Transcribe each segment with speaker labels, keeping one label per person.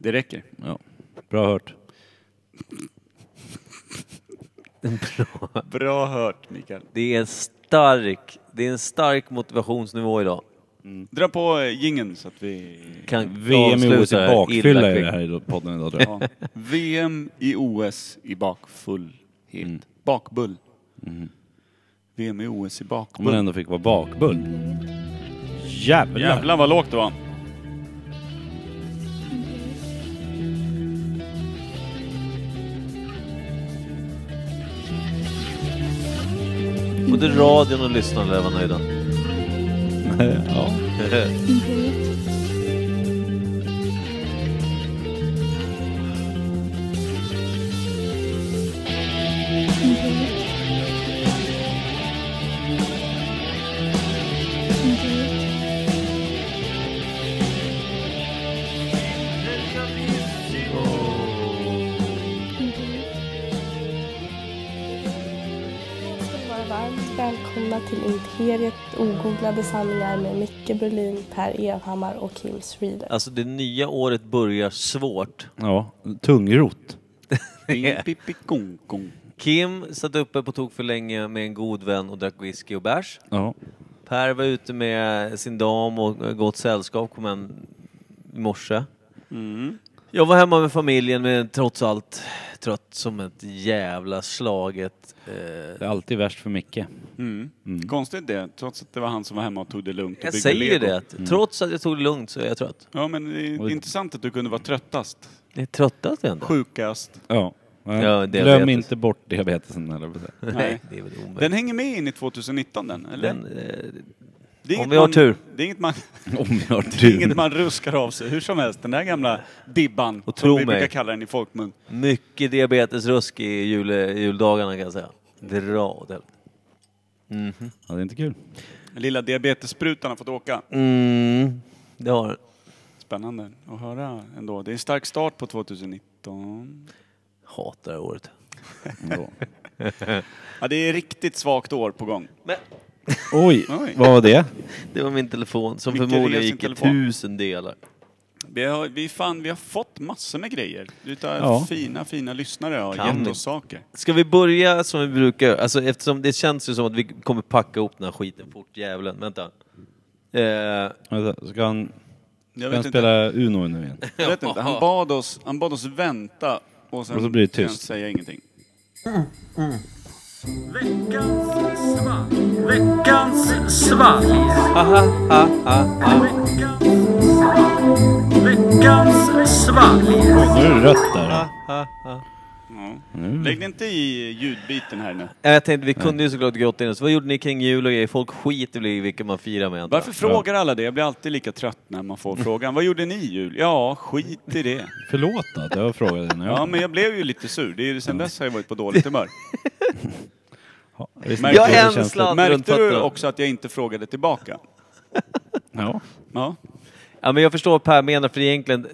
Speaker 1: Det räcker. Ja.
Speaker 2: Bra hört.
Speaker 1: Bra hört Mikael.
Speaker 3: Det är en stark, det är en stark motivationsnivå idag.
Speaker 1: Dra på jingeln så att vi...
Speaker 3: Kan
Speaker 2: VM i OS i
Speaker 3: avsluta
Speaker 2: bakfylla
Speaker 3: illa
Speaker 2: är
Speaker 3: kvickt.
Speaker 2: det här i podden idag tror jag.
Speaker 1: Ja. VM i OS i bakfullhet.
Speaker 3: Mm.
Speaker 1: Bakbull. VM i OS i
Speaker 2: Om
Speaker 1: bakbull.
Speaker 2: man ändå fick vara bakbull. Jävlar!
Speaker 1: Jävlar vad lågt det var.
Speaker 3: Både radion och lyssnarna lär vara nöjda.
Speaker 2: ja.
Speaker 4: ska vara varmt välkomna till Imperiet ogooglade sanningar med Micke Berlin, Per Evhammar och Kim Schreeder.
Speaker 3: Alltså det nya året börjar svårt.
Speaker 2: ja, tungrot.
Speaker 1: Pippi-kong-kong.
Speaker 3: Kim satt uppe på tok för länge med en god vän och drack whisky och bärs.
Speaker 2: Ja.
Speaker 3: Per var ute med sin dam och eh, gott sällskap, kom hem i morse. Jag var hemma med familjen men trots allt trött som ett jävla slaget. Eh,
Speaker 2: Det är alltid värst för Micke.
Speaker 1: Mm. Konstigt det, trots att det var han som var hemma och tog det lugnt och
Speaker 3: jag
Speaker 1: byggde
Speaker 3: säger
Speaker 1: Lego.
Speaker 3: det, att trots att jag tog det lugnt så är jag trött.
Speaker 1: Ja men det är intressant att du kunde vara tröttast,
Speaker 3: Det är tröttast jag inte.
Speaker 1: sjukast.
Speaker 2: Ja.
Speaker 3: Ja,
Speaker 2: Glöm
Speaker 3: diabetes.
Speaker 2: inte bort diabetesen eller vad det
Speaker 1: Nej.
Speaker 3: Nej, det är väl omöjligt.
Speaker 1: Den hänger med in i 2019 den, eller?
Speaker 3: Den, eh,
Speaker 1: det är inget
Speaker 3: om vi har
Speaker 1: man,
Speaker 3: tur.
Speaker 1: Det är inget man,
Speaker 2: Om jag har
Speaker 1: det är inget
Speaker 2: tur.
Speaker 1: man ruskar av sig hur som helst. Den där gamla dibban,
Speaker 3: Och
Speaker 1: som
Speaker 3: tro
Speaker 1: vi brukar
Speaker 3: mig.
Speaker 1: kalla den i folkmun.
Speaker 3: mycket diabetesrusk i jul, juldagarna kan jag säga. Dra åt helvete.
Speaker 2: Ja, det är inte kul.
Speaker 1: Den lilla diabetessprutan har fått åka.
Speaker 3: Mm, det har den.
Speaker 1: Spännande att höra ändå. Det är en stark start på 2019.
Speaker 3: Hatar det här året.
Speaker 2: Ja.
Speaker 1: Ja, det är riktigt svagt år på gång.
Speaker 3: Men
Speaker 2: Oj,
Speaker 1: Oj.
Speaker 2: vad var det?
Speaker 3: det var min telefon som
Speaker 1: Micke
Speaker 3: förmodligen
Speaker 1: reser
Speaker 3: gick i
Speaker 1: telefon.
Speaker 3: tusen delar.
Speaker 1: Vi har, vi, fan, vi har fått massor med grejer. Utav
Speaker 2: Ja.
Speaker 1: fina, fina lyssnare har
Speaker 3: Kan
Speaker 1: gett
Speaker 3: vi?
Speaker 1: oss saker.
Speaker 3: Ska vi börja som vi brukar göra? Alltså eftersom det känns ju som att vi kommer packa ihop den här skiten fort, djävulen. Vänta. Eh,
Speaker 2: Vänta, Ska han,
Speaker 1: Jag
Speaker 2: ska han
Speaker 1: vet, inte,
Speaker 2: spela Uno nu igen?
Speaker 1: jag vet inte. Han bad oss, han bad oss vänta och sen
Speaker 2: Och så blir det
Speaker 1: kan jag
Speaker 2: tyst.
Speaker 1: inte säga ingenting.
Speaker 2: Nu är det rött där.
Speaker 1: Ja. Lägg dig inte i ljudbiten här nu.
Speaker 3: jag tänkte vi kunde ju såklart grotta in oss. Vad gjorde ni kring jul och grejer? Folk skiter i vilka man firar med. antar jag.
Speaker 1: Varför frågar alla det? Jag blir alltid lika trött när man får frågan. Vad gjorde ni i jul? Ja, skit i det.
Speaker 2: Förlåt att jag frågade dig.
Speaker 1: Ja, men jag blev ju lite sur. Det är ju sen dess har jag varit på dåligt humör.
Speaker 2: jag
Speaker 1: Jag
Speaker 3: är en sladd. runt
Speaker 1: Märkte du
Speaker 3: fötterna.
Speaker 1: också att jag inte frågade tillbaka?
Speaker 2: Ja.
Speaker 1: Ja.
Speaker 3: Ja, men jag förstår vad Per menar, för egentligen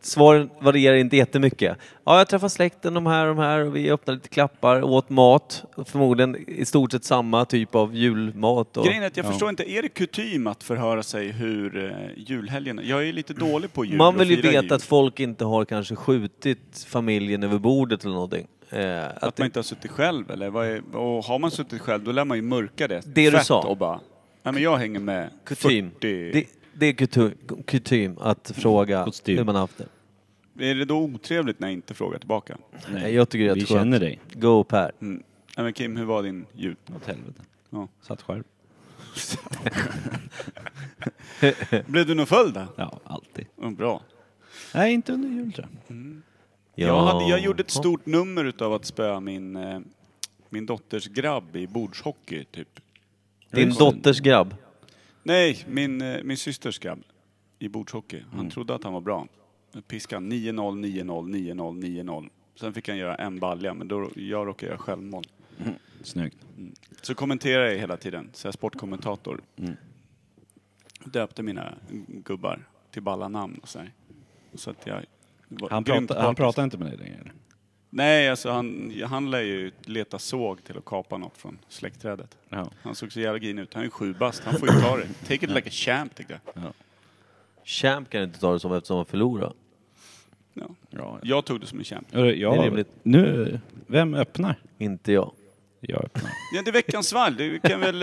Speaker 3: svaren varierar inte jättemycket. Ja, jag träffade släkten, de här och de här, och vi öppnade lite klappar, åt mat. Förmodligen i stort sett samma typ av julmat. Och
Speaker 1: Grejen är att jag förstår inte, är det kutym att förhöra sig hur eh, julhelgen... Jag är lite dålig på jul
Speaker 3: Man
Speaker 1: och
Speaker 3: vill ju
Speaker 1: fira
Speaker 3: veta
Speaker 1: jul.
Speaker 3: att folk inte har kanske skjutit familjen över bordet eller någonting. Eh, att
Speaker 1: Att man inte har suttit själv eller? Vad är, och har man suttit själv då lär man ju mörka det.
Speaker 3: Det du
Speaker 1: fett
Speaker 3: sa.
Speaker 1: Och bara, nej men jag hänger med
Speaker 3: kutym.
Speaker 1: 40.
Speaker 3: Det, det är kutym, kutym att fråga
Speaker 2: Kutym.
Speaker 3: hur man haft det.
Speaker 1: Är det då otrevligt när jag inte frågar tillbaka?
Speaker 3: Nej, jag tycker det är
Speaker 2: vi
Speaker 3: skönt.
Speaker 2: känner dig.
Speaker 3: Go Per.
Speaker 1: Mm. Nej men Kim, hur var din jul?
Speaker 2: Åt helvete.
Speaker 1: Ja.
Speaker 2: Satt själv.
Speaker 1: Blev du någon följd då?
Speaker 2: Ja, alltid.
Speaker 1: Mm, Bra.
Speaker 2: Nej, inte under jul tror jag.
Speaker 1: Jag, hade, jag gjorde ett stort nummer utav att spöa min, eh, min dotters grabb i bordshockey, typ.
Speaker 3: Din dotters grabb.
Speaker 1: Nej, min, eh, min systers grabb i bordshockey. Han
Speaker 2: Mm.
Speaker 1: trodde att han var bra. Piskan 9-0, 9-0, 9-0, 9-0. Sen fick han göra en balja, men då jag råkade göra självmål.
Speaker 2: Snyggt.
Speaker 1: Så kommenterade jag hela tiden, så jag är sportkommentator.
Speaker 2: Mm.
Speaker 1: Döpte mina gubbar till balla namn och så här. Så att jag var
Speaker 2: Han,
Speaker 1: grymt
Speaker 2: pratar, han
Speaker 1: bakis.
Speaker 2: pratar inte med dig längre.
Speaker 1: Nej, alltså han, han lär ju leta såg till att kapa något från släktträdet.
Speaker 2: Ja.
Speaker 1: Han såg så jävla grinig ut. Han är ju sju bast, han får ju ta det. Take it like a champ, tyckte jag.
Speaker 3: Champ kan inte ta det som eftersom han förlorade.
Speaker 2: Ja,
Speaker 1: Jag tog det som en kämp.
Speaker 2: ja. ja
Speaker 3: Det är rimligt.
Speaker 2: Nu, vem öppnar?
Speaker 3: Inte jag.
Speaker 2: Jag öppnar.
Speaker 1: Ja, det är veckans svalg. Du kan väl...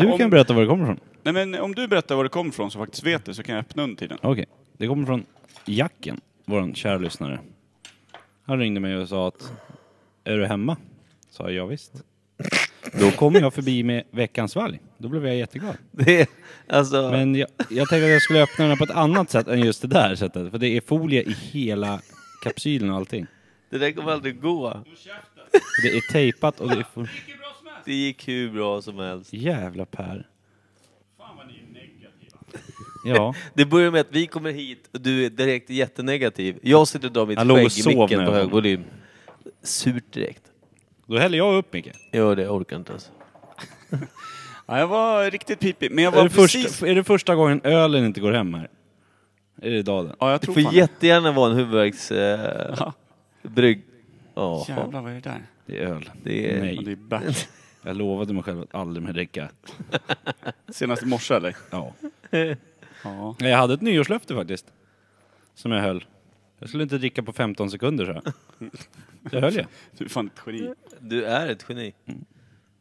Speaker 2: Du
Speaker 1: om,
Speaker 2: kan berätta var det kommer ifrån.
Speaker 1: Nej, men om du berättar var det kommer ifrån så faktiskt vet det så kan jag öppna under tiden.
Speaker 2: Okej, det kommer från Jacken, vår kära lyssnare. Han ringde mig och sa att är du hemma? Sa jag "Ja, visst. Då kommer jag förbi med veckans valg. Då blev jag jätteglad.
Speaker 3: Det är, alltså,
Speaker 2: Men jag, jag tänkte att jag skulle öppna den här på ett annat sätt än just det där sättet. För det är folie i hela kapsylen och allting.
Speaker 3: det där kommer aldrig gå.
Speaker 2: Det är tejpat och det är... fo-
Speaker 3: Det gick hur bra som helst.
Speaker 2: Jävla Per. Ja,
Speaker 3: Det börjar med att vi kommer hit och du är direkt jättenegativ. Jag sitter och drar mitt
Speaker 2: Jag låg och
Speaker 3: skägg i
Speaker 2: sov
Speaker 3: micken
Speaker 2: när
Speaker 3: på
Speaker 2: jag
Speaker 3: hög
Speaker 2: kom.
Speaker 3: volym. Surt direkt.
Speaker 2: då häller jag upp Micke.
Speaker 3: Ja, det jag orkar inte alltså.
Speaker 1: Ja, jag var riktigt pipig. Men jag
Speaker 2: Är
Speaker 1: var
Speaker 2: det,
Speaker 1: precis...
Speaker 2: första, är det första gången ölen inte går hem här? Är det idag det?
Speaker 1: Ja, jag
Speaker 3: Det
Speaker 1: tror
Speaker 3: får
Speaker 1: fan det.
Speaker 3: jättegärna vara en huvudvärksbrygg.
Speaker 1: Ja.
Speaker 3: Eh, brygg. Jaha.
Speaker 1: Jävlar, vad är det där?
Speaker 2: Det är öl.
Speaker 3: Det är-
Speaker 1: Ja,
Speaker 2: Nej.
Speaker 1: det är bärs.
Speaker 2: Jag lovade mig själv att aldrig mer dricka.
Speaker 1: Senast i morse eller?
Speaker 2: Ja.
Speaker 1: Ja.
Speaker 2: Jag hade ett nyårslöfte faktiskt. Som jag höll. Jag skulle inte dricka på 15 sekunder så här. Det höll jag.
Speaker 1: Du är fan ett geni.
Speaker 3: Du är ett geni.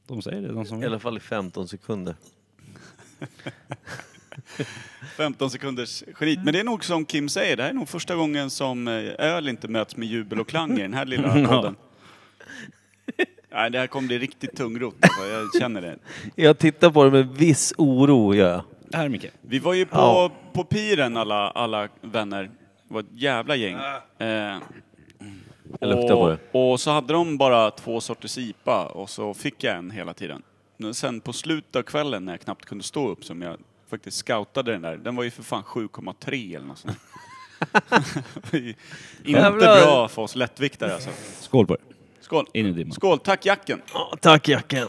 Speaker 2: De säger det, de som
Speaker 3: I
Speaker 2: vill.
Speaker 3: alla fall i 15 sekunder.
Speaker 1: 15 sekunders genit. Men det är nog som Kim säger, det här är nog första gången som eh, öl inte möts med jubel och klang i den här lilla podden. Nej, det här kommer bli riktigt tungrot. Alltså. Jag känner det.
Speaker 3: Jag tittar på det med viss oro, gör jag.
Speaker 2: Här Micke.
Speaker 1: Vi var ju på,
Speaker 3: Ja.
Speaker 1: på piren alla, alla vänner. Det var ett jävla gäng. Eh,
Speaker 3: Jag luktar på
Speaker 1: och, och så hade de bara två sorters IPA och så fick jag en hela tiden. Men sen på slutet av kvällen när jag knappt kunde stå upp som jag faktiskt scoutade den där. Den var ju för fan 7,3 eller något sånt. Inte
Speaker 3: Jävlar.
Speaker 1: bra för oss lättviktare alltså.
Speaker 2: Skål på er.
Speaker 1: Skål!
Speaker 2: In i dimman.
Speaker 1: Skål! Tack jacken!
Speaker 3: Ja, tack Jacken!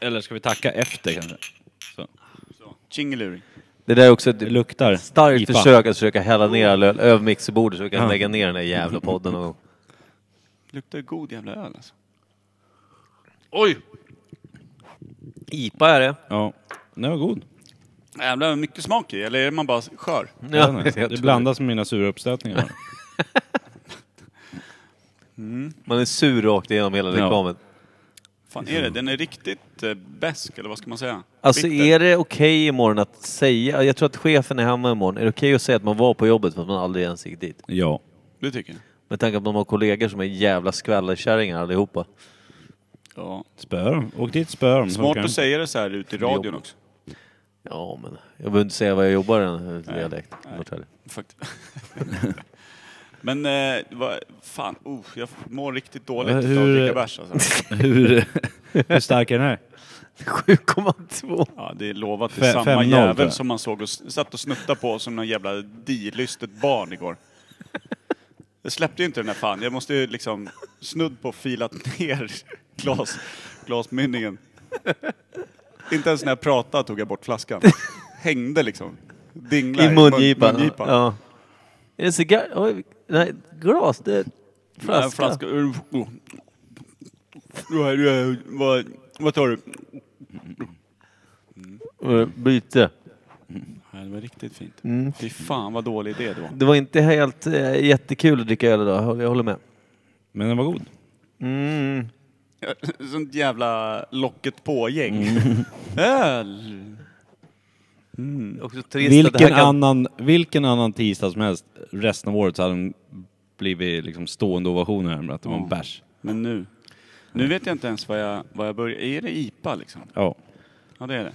Speaker 2: Eller ska vi tacka efter kanske? Så.
Speaker 1: Tjingeluring.
Speaker 3: Det där är också ett
Speaker 2: Det luktar
Speaker 3: starkt
Speaker 2: IPA.
Speaker 3: försök att försöka hälla ner all öl över mixerbordet så vi kan lägga ner den där jävla podden. Och...
Speaker 1: Luktar god jävla öl alltså.
Speaker 3: IPA är det.
Speaker 2: Ja. Den var god.
Speaker 1: Jävlar vad mycket smak i, eller är man bara skör?
Speaker 2: Ja, den är.
Speaker 3: jag tror
Speaker 2: det blandas med mina sura uppstötningar.
Speaker 3: Man är sur rakt igenom hela
Speaker 2: Ja.
Speaker 3: reklamen.
Speaker 1: fan är det? Den är riktigt eh, besk, eller vad ska man säga?
Speaker 3: Alltså
Speaker 1: Bitter.
Speaker 3: är det okej imorgon att säga, jag tror att chefen är hemma imorgon, är det okej att säga att man var på jobbet för att man aldrig ens gick dit?
Speaker 2: ja.
Speaker 1: Det tycker jag.
Speaker 3: Med tanke på att de har kollegor som är jävla skvallerkärringar allihopa.
Speaker 1: Ja.
Speaker 2: Spöa dem. Åk dit spöa dem.
Speaker 1: Smart
Speaker 2: Funkar.
Speaker 1: att säga det så här ute i radion också.
Speaker 3: Ja men, jag behöver inte säga vad jag jobbar i den här dialekt.
Speaker 1: Fakt- Men eh, vad, fan, oh, jag mår riktigt dåligt
Speaker 2: Ja,
Speaker 1: av att
Speaker 2: hur-
Speaker 1: dricka bärs alltså.
Speaker 2: Hur, hur stark är den här?
Speaker 3: 7,2!
Speaker 1: Ja, det är lovat till
Speaker 2: Fe-
Speaker 1: samma
Speaker 2: 5-0 tror
Speaker 1: jävel
Speaker 2: jag.
Speaker 1: som man såg och s- satt och snuttade på som någon jävla dilystet barn igår. Jag släppte ju inte den här fan, jag måste ju liksom snudd på filat ner glas, glasmynningen. Inte ens när jag pratade tog jag bort flaskan. Hängde liksom. Dinglade
Speaker 3: I mungipan.
Speaker 1: mun- mungipan.
Speaker 3: Ja. Är det cigarr? Oj, nej, glas? Det är
Speaker 1: Flaska.
Speaker 3: flaska.
Speaker 1: flaska. Oh. Du har- du har- Vad, vad tar du?
Speaker 3: Eh, Byte.
Speaker 1: Ja, det var riktigt fint. Mm. Fy fan vad dålig idé det var.
Speaker 3: Det var inte helt eh, jättekul att dricka öl idag, jag håller- jag håller med.
Speaker 2: Men den var god.
Speaker 3: Mm.
Speaker 1: Sånt jävla locket på-gäng. Öl!
Speaker 3: Mm. Också trist att det
Speaker 2: Vilken
Speaker 3: här kan...
Speaker 2: annan, vilken annan tisdag som helst resten av året så hade den blivit liksom stående ovationer här med att det var en bärs.
Speaker 1: Men nu. Nu vet jag inte ens vad jag, vad jag börjar. Är det IPA liksom?
Speaker 2: Ja.
Speaker 1: Ja det är det.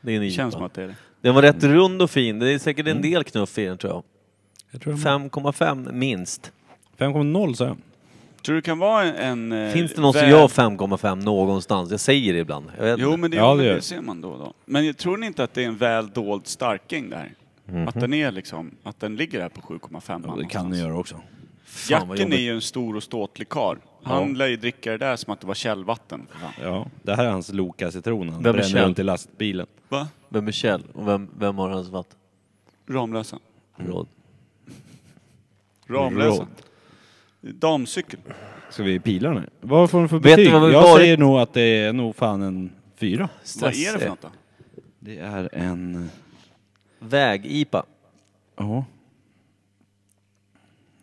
Speaker 3: Det är en Mm.
Speaker 1: Det
Speaker 3: IPA.
Speaker 1: känns som att det är det.
Speaker 3: Den var rätt rund och fin. Det är säkert en del knuff i den tror jag.
Speaker 2: Jag tror
Speaker 3: 5,5 minst.
Speaker 2: 5,0 sa jag.
Speaker 1: Tror du det kan vara en... en eh,
Speaker 3: Finns det någon som
Speaker 1: väl-
Speaker 3: gör 5,5 någonstans? Jag säger det ibland. Jag vet
Speaker 1: Jo
Speaker 3: inte.
Speaker 1: men det,
Speaker 2: Ja,
Speaker 1: men
Speaker 2: det gör
Speaker 1: det
Speaker 2: det.
Speaker 1: ser man då och då. Men jag tror ni inte att det är en väl dold starking där? Att den är liksom, att den ligger här på 7,5
Speaker 2: Ja, det kan
Speaker 1: någonstans.
Speaker 2: ni göra också.
Speaker 3: Fan, vad
Speaker 1: Jacken är
Speaker 3: jobbigt.
Speaker 1: ju en stor och ståtlig karl. Han lär ju dricka det där som att det var källvatten. för fan.
Speaker 2: Ja. Det här är hans Loka citron. Han
Speaker 3: Vem är
Speaker 2: bränner
Speaker 3: Kjell?
Speaker 2: runt i lastbilen.
Speaker 1: Va?
Speaker 3: Vem är Kjell? Och vem, vem har hans vatten?
Speaker 1: Ramlösa.
Speaker 3: Råd.
Speaker 1: Ramlösa.
Speaker 2: Råd.
Speaker 1: Damcykel.
Speaker 2: Ska vi pila nu? Vad får den för
Speaker 3: Vet
Speaker 2: betyg?
Speaker 3: ni vad vi
Speaker 2: Jag
Speaker 3: varit-
Speaker 2: säger nog att det är nog fan en fyra.
Speaker 1: Vad är det för något då?
Speaker 2: Det är en...
Speaker 3: Väg-IPA.
Speaker 2: Ja.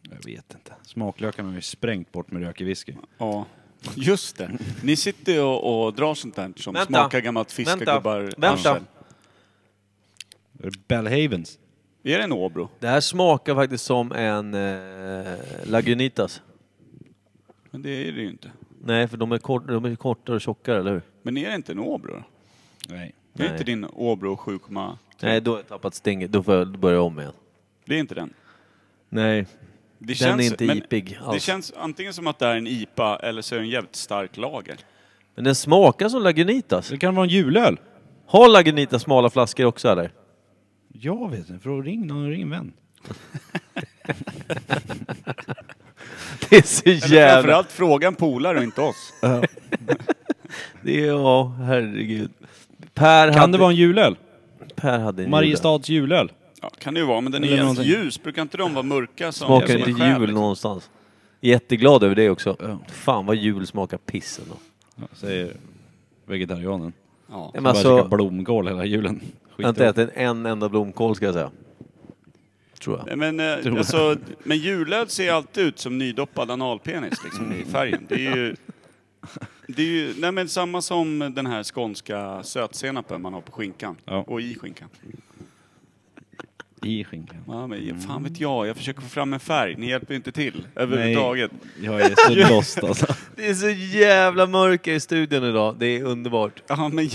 Speaker 2: Jag vet inte. Smaklökarna har ju sprängt bort med rök i whisky.
Speaker 1: Ja. Just det. Ni sitter ju och, och drar sånt där som
Speaker 3: Vänta.
Speaker 1: smakar gammalt fiskegubbar
Speaker 3: Vänta. Vänta.
Speaker 1: arsel.
Speaker 2: Är det Bellhavens?
Speaker 1: Är det en Åbro?
Speaker 3: Det här smakar faktiskt som en eh, Lagunitas.
Speaker 1: Men det är det ju inte.
Speaker 3: Nej, för de är, kort, de är kortare och tjockare, eller hur?
Speaker 1: Men är det inte en Åbro då?
Speaker 2: Nej.
Speaker 1: Det är
Speaker 3: Nej.
Speaker 1: inte din Åbro 7,
Speaker 3: Nej, då har jag tappat stinget. Då får jag börja om igen.
Speaker 1: det är inte den.
Speaker 3: Nej.
Speaker 1: Det
Speaker 3: Den är inte ipig
Speaker 1: Det
Speaker 3: alls.
Speaker 1: känns antingen som att det är en IPA eller så är det en jävligt stark lager.
Speaker 3: Men den smakar som Lagunitas.
Speaker 2: Så det kan vara en julöl?
Speaker 3: Har Lagunitas smala flaskor också, eller?
Speaker 2: Jag vet inte, för ring någon, ring en vän.
Speaker 3: Det är så
Speaker 1: Eller
Speaker 3: jävla...
Speaker 1: framförallt fråga en polare och inte oss.
Speaker 3: Det är, ja, herregud. Per
Speaker 2: Kan
Speaker 3: hade,
Speaker 2: det vara en julöl?
Speaker 3: per hade en jul.
Speaker 2: Mariestads julöl?
Speaker 1: Ja, kan det ju vara, men den är
Speaker 2: Eller
Speaker 1: jävligt
Speaker 2: någonting.
Speaker 1: ljus. Brukar inte de vara mörka som,
Speaker 3: Smakar
Speaker 1: som
Speaker 3: inte
Speaker 1: en själ,
Speaker 3: jul
Speaker 1: liksom?
Speaker 3: någonstans. Jätteglad över det också. Fan vad jul smakar piss ändå.
Speaker 2: Ja, säger vegetarianen.
Speaker 1: Ja.
Speaker 3: Men
Speaker 2: Bara käkar
Speaker 3: alltså,
Speaker 2: blomkål hela julen.
Speaker 3: jag har inte
Speaker 2: Skitbra.
Speaker 3: ätit en enda blomkål ska jag säga. Tror jag.
Speaker 1: Nej, Men, eh,
Speaker 2: jag.
Speaker 1: alltså, men julöl ser alltid ut som nydoppad analpenis liksom, i färgen. Det är ju, det är ju nej, men samma som den här skånska sötsenapen man har på skinkan.
Speaker 2: Ja.
Speaker 1: Och i skinkan.
Speaker 2: I skinkan.
Speaker 1: Ja,
Speaker 3: Mm.
Speaker 1: men, fan vet jag, jag försöker få fram en färg. Ni hjälper ju inte till överhuvudtaget.
Speaker 2: Jag är så lost alltså.
Speaker 3: Det är så jävla mörker i studion idag. Det är underbart.
Speaker 1: Ja, men,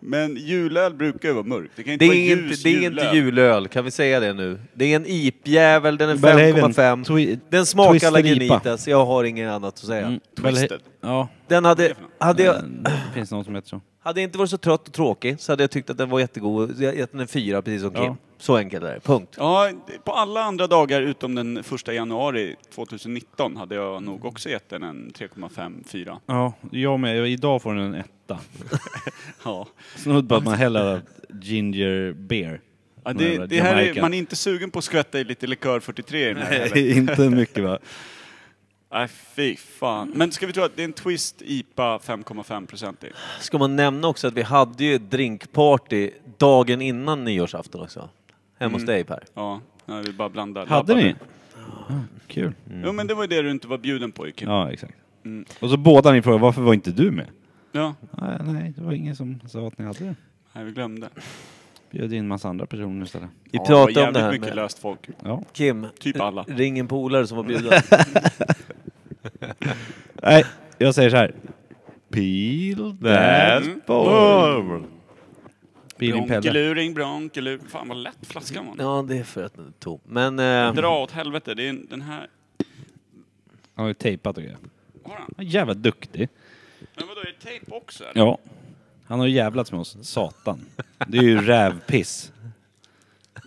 Speaker 1: men julöl brukar ju vara mörkt. Det kan
Speaker 3: Det
Speaker 1: inte vara
Speaker 3: är,
Speaker 1: ljus
Speaker 3: inte, det är inte
Speaker 1: julöl.
Speaker 3: julöl, kan vi säga det nu? Det är en ipjävel, den är
Speaker 2: Bellhaven.
Speaker 3: 5,5.
Speaker 2: Twi-
Speaker 3: Den smakar
Speaker 2: Twister
Speaker 3: Lagunitas, jag har inget annat att säga.
Speaker 2: Mm,
Speaker 1: Twisted.
Speaker 2: Bellha- Ja,
Speaker 3: Den hade, hade jag...
Speaker 2: det finns någon som heter så.
Speaker 3: Hade jag inte varit så trött och tråkig så hade jag tyckt att den var jättegod och gett den en fyra precis som Kim.
Speaker 2: Ja.
Speaker 3: Så enkelt är det. Punkt.
Speaker 1: Ja, på alla andra dagar utom den första januari 2019 hade jag nog också gett den en 3,54.
Speaker 2: Ja, jag med. Idag får den en etta.
Speaker 1: Ja.
Speaker 2: Snudd på att man häller ginger beer.
Speaker 1: Ja,
Speaker 2: Någon
Speaker 1: det,
Speaker 2: jävla
Speaker 1: det här är,
Speaker 2: Jamaica.
Speaker 1: man är inte sugen på att skvätta i lite likör 43 i den här heller.
Speaker 2: Nej, inte mycket va?
Speaker 1: Nej, fy fan. Men ska vi tro att det är en Twist IPA 5,5 procentig?
Speaker 3: Ska man nämna också att vi hade ju ett drinkparty dagen innan nyårsafton också. Hemma hos dig Per.
Speaker 1: Ja, jag vill bara blanda.
Speaker 2: Hade
Speaker 1: labbade.
Speaker 2: ni? Ja, kul.
Speaker 1: Jo, men det var ju det du inte var bjuden på ju, Kim.
Speaker 2: Ja, exakt. Mm. Och så båda ni frågade varför var inte du med?
Speaker 1: Ja.
Speaker 2: Nej, Ah, nej, det var ingen som sa att ni hade det.
Speaker 1: Nej, vi glömde.
Speaker 2: Bjöd in massa andra personer istället.
Speaker 3: Vi
Speaker 1: Ja, var
Speaker 3: pratade om
Speaker 1: jävligt
Speaker 3: det här
Speaker 1: mycket
Speaker 3: med
Speaker 1: löst folk.
Speaker 2: Ja.
Speaker 3: Kim.
Speaker 1: Typ alla.
Speaker 3: Ring en polare som var bjuden.
Speaker 2: Nej, jag säger så här. Peel
Speaker 1: Mm.
Speaker 2: that ball. Peel in Pelle.
Speaker 1: Bronkeluring, bronkeluring. Fan vad lätt flaskan var.
Speaker 3: ja, det är för att den är tom. Men eh,
Speaker 1: Dra åt helvete, det är en- den här...
Speaker 2: Han har ju tejpat och grejer.
Speaker 1: Har han?
Speaker 2: Han är jävla duktig.
Speaker 1: Men vadå, är det tejp också eller?
Speaker 2: Ja. Han har ju jävlats med oss. Satan. Det är ju rävpiss.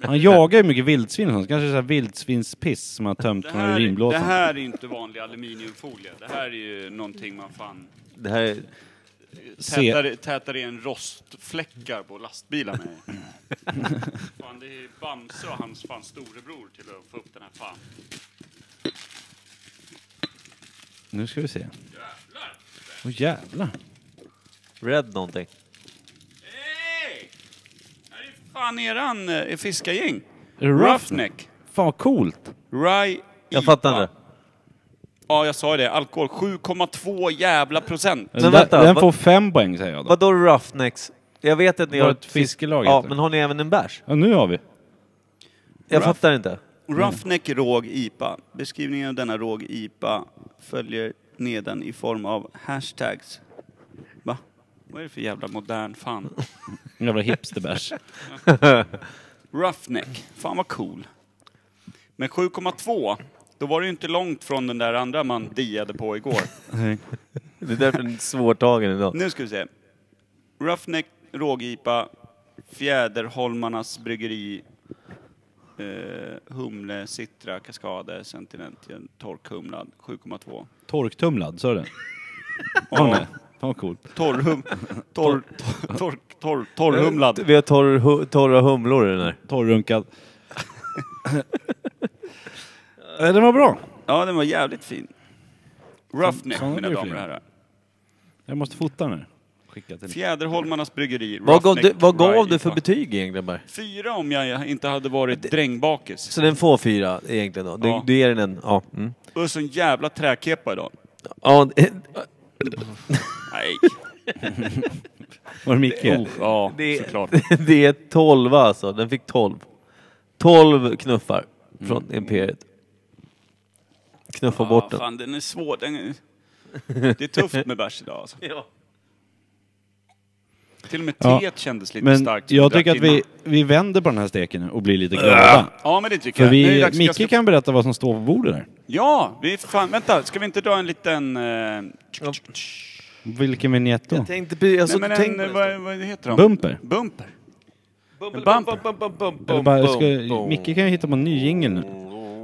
Speaker 2: Han jagar ju mycket vildsvin och sånt. Kanske så här vildsvinspiss som han har tömt
Speaker 1: Det
Speaker 2: från en
Speaker 1: här, det
Speaker 2: rimblåsa.
Speaker 1: här är inte vanlig aluminiumfolie. Det här är ju någonting man fan
Speaker 3: det här är...
Speaker 2: Se-
Speaker 1: tätar, tätar igen rostfläckar på lastbilar med. fan, det är ju Bamse och hans fan storebror till att få upp den här fan.
Speaker 2: Nu ska vi se. Åh jävlar.
Speaker 3: Red någonting.
Speaker 1: Hej! Här är fan eran eh, fiskargäng.
Speaker 2: Är det
Speaker 1: Roughneck.
Speaker 2: Fan vad coolt.
Speaker 1: Rye IPA.
Speaker 3: Jag fattar inte.
Speaker 1: Ja, jag sa ju det. Alkohol 7,2 jävla procent.
Speaker 2: den, där-
Speaker 3: vänta,
Speaker 2: den
Speaker 3: vad-
Speaker 2: får fem poäng säger jag då.
Speaker 3: Vadå Roughnecks? Jag vet att ni
Speaker 2: Var
Speaker 3: har
Speaker 2: ett fiskelag
Speaker 3: Ja,
Speaker 2: heter det.
Speaker 3: men har ni även en bärs?
Speaker 2: Ja, nu har vi.
Speaker 3: Jag
Speaker 1: Rough-
Speaker 3: fattar inte.
Speaker 1: Roughneck råg IPA. Beskrivningen av denna råg IPA följer nedan i form av hashtags. Va? Vad är det för jävla modern fan?
Speaker 2: En jävla hipsterbärs.
Speaker 1: Roughneck. Fan vad cool. Men 7,2, då var det ju inte långt från den där andra man diade på igår.
Speaker 3: Det är därför den är svårtagen idag.
Speaker 1: Nu ska vi se. Roughneck råg-IPA, Fjäderholmarnas bryggeri, eh, Humle, Citra, Kaskade, Sentinentian, Torkhumlad, 7,2.
Speaker 2: Torktumlad, sa du det? Ja. Fan vad coolt.
Speaker 1: Torrhum... Torr... Torr... Torr... Torr... Torrhumlad.
Speaker 3: Eh, Vi har torr, hu, torra humlor i den här.
Speaker 2: Torrrunkad. Eh, den var bra.
Speaker 1: Ja, den var jävligt fin. Roughneck,
Speaker 2: Såna
Speaker 1: mina
Speaker 2: blir
Speaker 1: damer och
Speaker 2: fler.
Speaker 1: herrar.
Speaker 2: Jag måste fota den här. Skicka till...
Speaker 1: Fjäderholmarnas bryggeri.
Speaker 3: Vad gav,
Speaker 1: Roughneck
Speaker 3: du, vad gav
Speaker 1: Rye
Speaker 3: du för
Speaker 1: IPA.
Speaker 3: betyg egentligen grabbar?
Speaker 1: Fyra om jag inte hade varit drängbakis.
Speaker 3: Så den får fyra egentligen då? Du,
Speaker 1: Ja.
Speaker 3: du ger den en... Ja. Mm.
Speaker 1: Och så en jävla träkepa idag.
Speaker 3: ja det,
Speaker 1: Nej.
Speaker 2: Var det Micke?
Speaker 1: Oh, ja,
Speaker 3: det,
Speaker 1: såklart.
Speaker 3: det är tolva alltså. Den fick tolv. Tolv knuffar från Imperiet. Knuffa bort
Speaker 1: Mm.
Speaker 3: den.
Speaker 1: fan, den är svår. Den är... Det är tufft med bärs idag alltså.
Speaker 3: Ja.
Speaker 1: Till och med
Speaker 2: Ja.
Speaker 1: teet kändes lite
Speaker 2: Men
Speaker 1: starkt. som
Speaker 2: jag
Speaker 1: drack
Speaker 2: tycker att vi,
Speaker 1: innan.
Speaker 2: vi vänder på den här steken nu och blir lite glada.
Speaker 1: Ja, men det tycker
Speaker 2: För
Speaker 1: jag. Nu är det
Speaker 2: vi,
Speaker 1: dags- jag
Speaker 2: Micke
Speaker 1: ska-
Speaker 2: kan berätta vad som står på bordet där.
Speaker 1: Ja, vi fan... Vänta, ska vi inte dra en liten... Eh...
Speaker 2: Vilken vignett då?
Speaker 3: Jag tänkte precis... Alltså,
Speaker 1: Nej, men
Speaker 3: tänk
Speaker 1: en,
Speaker 3: på det.
Speaker 1: vad, vad heter de?
Speaker 2: Bumper.
Speaker 1: Bumper.
Speaker 3: Bum,
Speaker 1: bumper.
Speaker 3: bum, bum, bum, bum,
Speaker 2: Eller
Speaker 3: bum,
Speaker 2: bara,
Speaker 3: bum,
Speaker 2: ska,
Speaker 3: bum.
Speaker 2: Micke kan ju hitta på en ny jingle nu.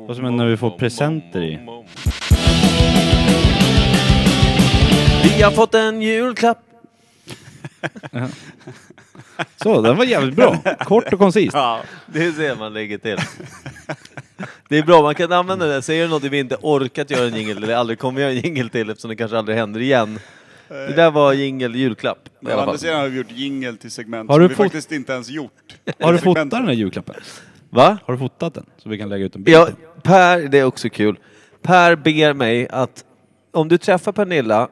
Speaker 2: Vad som händer när vi får presenter i.
Speaker 3: Vi har fått en julklapp.
Speaker 2: Så, den var jävligt bra. Kort och koncist.
Speaker 3: Ja, det ser man lägger till. Det är bra, man kan använda det. Säger du något vi inte orkat göra en jingel eller aldrig kommer göra en jingel till eftersom det kanske aldrig händer igen. Det där var jingel julklapp i alla
Speaker 1: Anders
Speaker 3: fall.
Speaker 1: har vi gjort jingel till segment
Speaker 2: Har
Speaker 1: som
Speaker 2: du
Speaker 1: vi
Speaker 2: fot-
Speaker 1: faktiskt inte ens gjort.
Speaker 2: Har du fotat
Speaker 1: Segment.
Speaker 2: den här julklappen?
Speaker 3: Va?
Speaker 2: Har du fotat den? Så vi kan lägga ut en bild.
Speaker 3: Ja, per, det är också kul. Per ber mig att om du träffar Pernilla,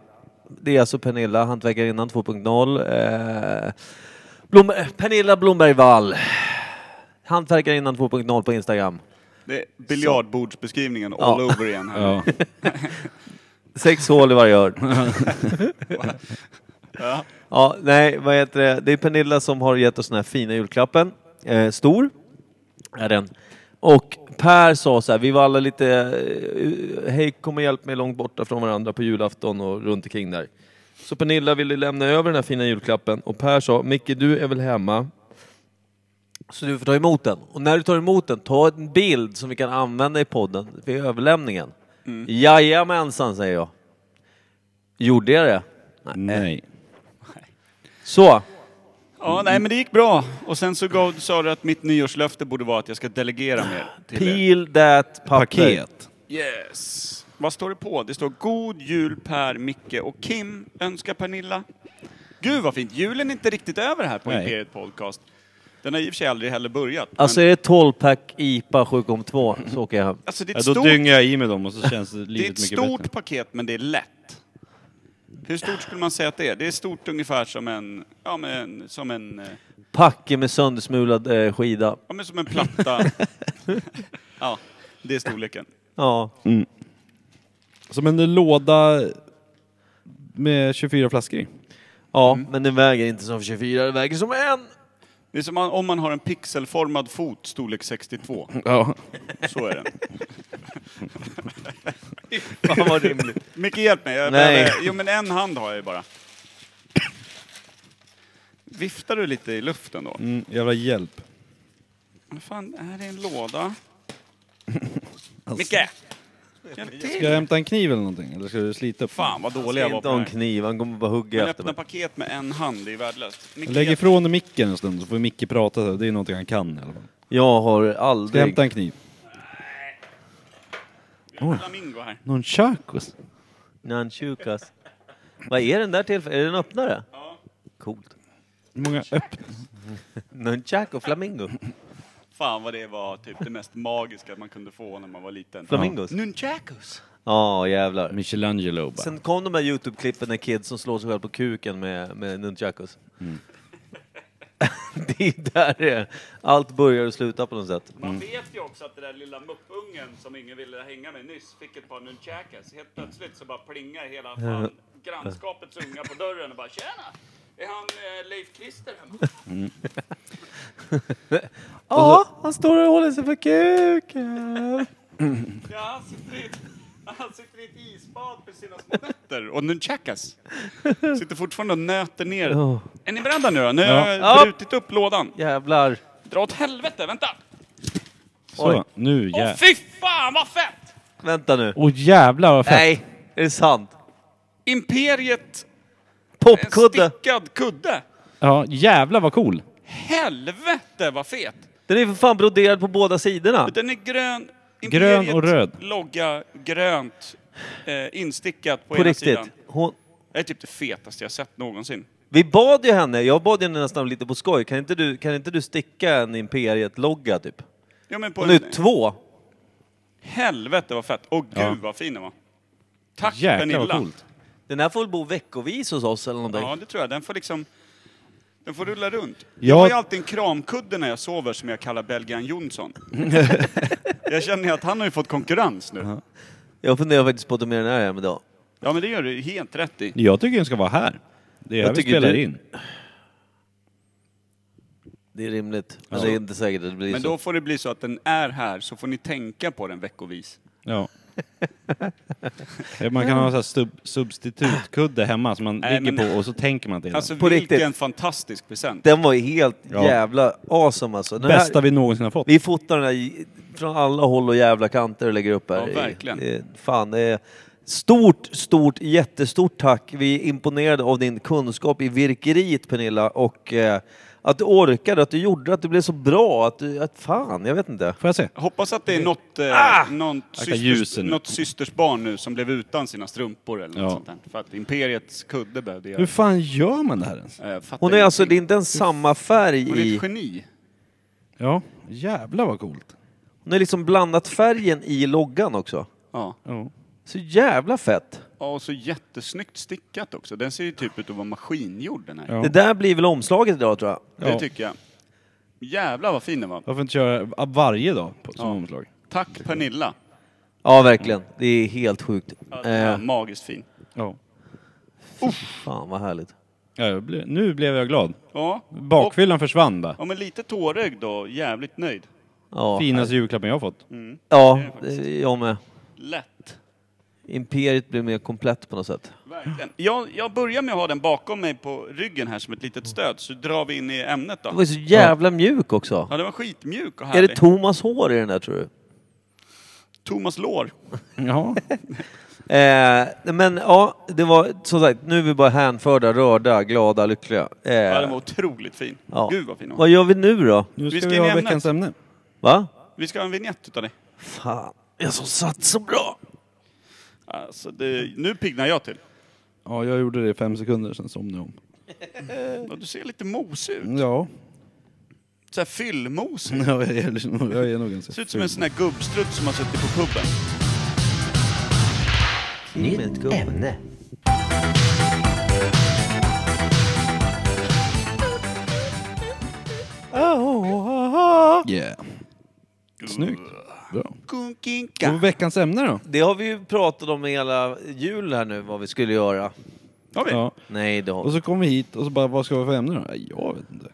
Speaker 3: det är alltså Pernilla, hantverkarinnan 2.0, eh, Blom, Pernilla Blomberg Wall, hantverkarinnan 2.0 på Instagram.
Speaker 1: Det är biljardbordsbeskrivningen all
Speaker 3: Ja.
Speaker 1: over igen här.
Speaker 2: Ja.
Speaker 3: Sex hål i varje hörn.
Speaker 1: Ja.
Speaker 3: Ja, nej, vad heter det? Det är Pernilla som har gett oss den här fina julklappen. Eh, stor är den. Och Per sa så här, vi var alla lite, eh, hej kom och hjälp mig långt borta från varandra på julafton och runt omkring där. Så Pernilla ville lämna över den här fina julklappen och Per sa, Micke du är väl hemma? Så du får ta emot den. Och när du tar emot den, ta en bild som vi kan använda i podden vid överlämningen. Jajamensan säger jag. Gjorde jag det?
Speaker 2: Nej.
Speaker 3: Så,
Speaker 1: ja, nej men det gick bra. Och sen så gav, sa du att mitt nyårslöfte borde vara att jag ska delegera mer till er.
Speaker 3: peel that papper.
Speaker 2: Paket.
Speaker 1: Yes. Vad står det på? Det står God Jul Per, Micke och Kim önskar Pernilla. Gud vad fint! Julen är inte riktigt över här på
Speaker 2: Nej.
Speaker 1: Imperiet Podcast. Den har i och för sig aldrig heller börjat.
Speaker 3: Alltså
Speaker 1: men,
Speaker 3: är det 12-pack IPA 7,2 så åker jag hem.
Speaker 1: alltså det är
Speaker 2: Ja,
Speaker 1: ett
Speaker 2: då
Speaker 1: stort,
Speaker 2: dynger jag i med dem och så känns
Speaker 1: det är
Speaker 2: livet
Speaker 1: ett
Speaker 2: mycket
Speaker 1: stort
Speaker 2: bättre.
Speaker 1: paket men det är lätt. Hur stort skulle man säga att det är? Det är stort ungefär som en, ja, men, som en, eh,
Speaker 3: Packe med söndersmulad eh, skida.
Speaker 1: ja, men som en platta. ja, det är storleken.
Speaker 3: Ja.
Speaker 2: Som en låda med 24 flaskor i.
Speaker 3: Ja, men den väger inte som 24, den väger som en!
Speaker 1: Det är som om man har en pixelformad fot storlek 62.
Speaker 2: Ja.
Speaker 1: Så är den.
Speaker 3: Fan vad rimligt.
Speaker 1: Micke, hjälp mig. Jag
Speaker 3: Nej.
Speaker 1: behöver, jo, men en hand har jag ju bara. Viftar du lite i luften då?
Speaker 2: Mm, jävla hjälp.
Speaker 1: Vad fan, här är en låda.
Speaker 3: Alltså.
Speaker 1: Micke! Hjälp
Speaker 2: Ska jag
Speaker 1: till!
Speaker 2: hämta en kniv eller någonting? Eller ska du slita upp?
Speaker 1: Fan vad dålig
Speaker 3: Ska
Speaker 1: jag var
Speaker 3: inte
Speaker 1: på
Speaker 3: ha
Speaker 1: den
Speaker 3: en
Speaker 1: här.
Speaker 3: kniv, han kommer bara hugga
Speaker 1: Men öppna
Speaker 3: efter mig.
Speaker 1: paket med en hand, det är värdelöst. Micke,
Speaker 2: Lägg
Speaker 1: hjälp.
Speaker 2: ifrån dig micken en stund så får Micke prata. Det är någonting han kan i alla fall.
Speaker 3: Jag har
Speaker 2: Ska jag
Speaker 3: aldrig...
Speaker 2: hämta en kniv?
Speaker 1: Vi har en flamingo här.
Speaker 2: Någon chakos?
Speaker 3: Nanchukas. Vad är den där till? för- Är det en öppnare? Ja. Coolt.
Speaker 2: Hur många öpp...
Speaker 3: Nunchaku, flamingo.
Speaker 1: Fan vad det var typ det mest magiska man kunde få när man var liten.
Speaker 3: Flamingos?
Speaker 1: Nunchakus!
Speaker 3: Ja, jävlar.
Speaker 2: Michelangelo bara.
Speaker 3: Sen kom de här Youtube-klippen när kids som slår sig själv på kuken med, med nunchakus.
Speaker 1: Mm.
Speaker 3: det är där det är. Allt börjar och slutar på något sätt.
Speaker 1: Man vet ju också att den där lilla muppungen som ingen ville hänga med nyss fick ett par nunchakas. Helt plötsligt så bara plingar hela fan grannskapets unga på dörren och bara tjena! Är han eh, Leif Krister hemma?
Speaker 3: Ja, han står och håller sig för kuken.
Speaker 1: Ja, han sitter i ett, han sitter i ett isbad med sina små nötter och nunchakas. Sitter fortfarande och nöter ner.
Speaker 3: Oh.
Speaker 1: Är ni beredda nu då? Nu har
Speaker 3: Ja.
Speaker 1: jag brutit upp lådan.
Speaker 3: Jävlar.
Speaker 1: Dra åt helvete, vänta!
Speaker 2: Så, nu
Speaker 1: Åh
Speaker 2: jävlar.
Speaker 1: fy fan vad fett!
Speaker 3: Vänta nu.
Speaker 2: Åh jävlar vad fett!
Speaker 3: Nej, är det sant?
Speaker 1: Imperiet, en
Speaker 3: Popkudde.
Speaker 1: stickad kudde.
Speaker 2: Ja, jävlar vad cool!
Speaker 1: Helvete vad fet!
Speaker 3: Den är för fan broderad på båda sidorna.
Speaker 1: Den är grön.
Speaker 2: Grön och
Speaker 1: Imperiet
Speaker 2: röd.
Speaker 1: Logga, grönt, eh, instickat på,
Speaker 3: På
Speaker 1: ena
Speaker 3: riktigt.
Speaker 1: sidan.
Speaker 3: Hon...
Speaker 1: Det är typ det fetaste jag sett någonsin.
Speaker 3: Vi bad ju henne, jag bad henne nästan lite på skoj, kan inte du, kan inte du sticka en Imperiet-logga typ?
Speaker 1: Ja, men på
Speaker 3: Hon är
Speaker 1: en,
Speaker 3: ju två!
Speaker 1: helvete vad fett! Åh gud
Speaker 2: Ja.
Speaker 1: vad fin den var. Tack
Speaker 2: Jäklar
Speaker 1: Pernilla!
Speaker 2: vad coolt.
Speaker 3: Den här får väl bo veckovis hos oss eller någonting.
Speaker 1: Ja, det tror jag. Den får liksom... Den får rulla runt.
Speaker 2: Ja.
Speaker 1: Jag har ju alltid en kramkudde när jag sover som jag kallar Belgian Jonsson. jag känner ju att han har ju fått konkurrens nu.
Speaker 3: Jag funderar faktiskt på att ta med den här hem idag.
Speaker 1: Ja, men det gör du helt rätt i.
Speaker 2: Jag tycker den ska vara här. Det är
Speaker 3: Jag
Speaker 2: här vi
Speaker 3: tycker
Speaker 2: spelar
Speaker 3: du-
Speaker 2: in.
Speaker 3: Det är rimligt. Men
Speaker 2: Ja.
Speaker 3: det är inte säkert att det blir
Speaker 1: Men
Speaker 3: så.
Speaker 1: då får det bli så att den är här, så får ni tänka på den veckovis.
Speaker 2: Ja. Man kan ha en sån här sub substitutkudde hemma som man
Speaker 1: Nej,
Speaker 2: ligger
Speaker 1: men-
Speaker 2: på och så tänker man till
Speaker 1: Alltså
Speaker 2: den.
Speaker 3: På
Speaker 1: vilken
Speaker 3: riktigt.
Speaker 1: fantastisk present.
Speaker 3: Den var ju helt
Speaker 2: Ja.
Speaker 3: jävla awesome alltså. Den
Speaker 2: Bästa
Speaker 3: här,
Speaker 2: vi någonsin har fått.
Speaker 3: vi fotar den här i- från alla håll och jävla kanter och lägger upp här.
Speaker 1: Ja, verkligen.
Speaker 3: I, i, fan, det är stort, stort, jättestort tack. Vi är imponerade av din kunskap i virkeriet Pernilla och eh, att du orkade, att du gjorde, att det blev så bra, att du, att fan, jag vet inte.
Speaker 2: Får jag se?
Speaker 1: Hoppas att det är något, eh,
Speaker 3: Ah!
Speaker 1: någon systers,
Speaker 2: ljusen.
Speaker 1: något systersbarn nu som blev utan sina strumpor eller
Speaker 2: Ja.
Speaker 1: något sånt där. För att Imperiets kudde behövde göra
Speaker 2: Hur fan gör man det här ens?
Speaker 1: det. Eh, fattar
Speaker 3: Hon är alltså, det är
Speaker 1: ingenting.
Speaker 3: inte ens samma färg
Speaker 1: Hon är
Speaker 3: i...
Speaker 1: ett geni.
Speaker 2: Ja, jävlar vad coolt.
Speaker 3: Hon har liksom blandat färgen i loggan också.
Speaker 1: Ja.
Speaker 2: Ja.
Speaker 3: Så jävla fett!
Speaker 1: Ja, och så jättesnyggt stickat också. Den ser ju typ ut att vara maskingjord den här.
Speaker 2: Ja.
Speaker 3: Det där blir väl omslaget idag tror jag.
Speaker 1: Det
Speaker 2: Ja.
Speaker 1: tycker jag. Jävlar vad fin den var.
Speaker 2: Varför inte köra varje dag på, som omslag?
Speaker 1: Tack Pernilla.
Speaker 3: Ja, verkligen. Det är helt sjukt.
Speaker 1: Ja, den
Speaker 3: Eh,
Speaker 1: var magiskt fin.
Speaker 2: Ja.
Speaker 3: fan vad härligt.
Speaker 2: Ja, jag blev- nu blev jag glad.
Speaker 1: Ja. Och,
Speaker 2: Bakfyllan försvann bara.
Speaker 1: ja, men lite tårögd då. Jävligt nöjd.
Speaker 3: Ja,
Speaker 2: Finaste julklappen jag har fått.
Speaker 3: ja eh, jag med.
Speaker 1: Lätt.
Speaker 3: Imperiet blir mer komplett på något sätt.
Speaker 1: Verkligen. Jag, jag börjar med att ha den bakom mig på ryggen här som ett litet stöd, så drar vi in i ämnet
Speaker 3: Den var
Speaker 1: då.
Speaker 3: ju så jävla mjuk också.
Speaker 1: Ja, den var skitmjuk och
Speaker 3: Är
Speaker 1: härlig.
Speaker 3: det Thomas hår i den där tror du?
Speaker 1: Thomas Lår.
Speaker 3: Äh.
Speaker 2: Ja.
Speaker 3: Eh, men ja, det var som sagt, nu är vi bara hänförda, rörda, glada, lyckliga. Eh,
Speaker 1: Ja, den var otroligt fin.
Speaker 3: ja.
Speaker 1: Gud vad fin den var.
Speaker 3: Vad gör vi nu då?
Speaker 2: Nu
Speaker 1: Vi
Speaker 2: ska
Speaker 1: ska
Speaker 2: vi
Speaker 1: in i
Speaker 2: ha
Speaker 1: ämnet.
Speaker 2: veckans ämne.
Speaker 3: Va?
Speaker 1: Vi ska ha en vignett utav dig.
Speaker 3: Fan, jag som satt så bra.
Speaker 1: Alltså, det, nu piggnar jag till.
Speaker 2: Ja, jag gjorde det i fem sekunder, sen somnade jag om.
Speaker 1: Ja, Du ser lite mosig
Speaker 3: Mm.
Speaker 1: ut.
Speaker 2: Ja.
Speaker 1: Såhär fyllmosig.
Speaker 2: Jag är, nog- jag är nog ganska
Speaker 1: Ser ut som en
Speaker 2: ful.
Speaker 1: sån här gubbstrutt som har suttit på puben.
Speaker 3: Nytt ämne.
Speaker 2: Yeah. Snyggt. Bra. Och
Speaker 1: Kunkinka.
Speaker 2: veckans ämne då?
Speaker 3: Det har vi ju pratat om hela jul här nu, vad vi skulle göra.
Speaker 1: Har vi?
Speaker 2: Ja.
Speaker 3: Nej, det har
Speaker 2: Och så kom vi hit och så bara, vad ska vi ha för ämne då? Nej, Jag vet inte.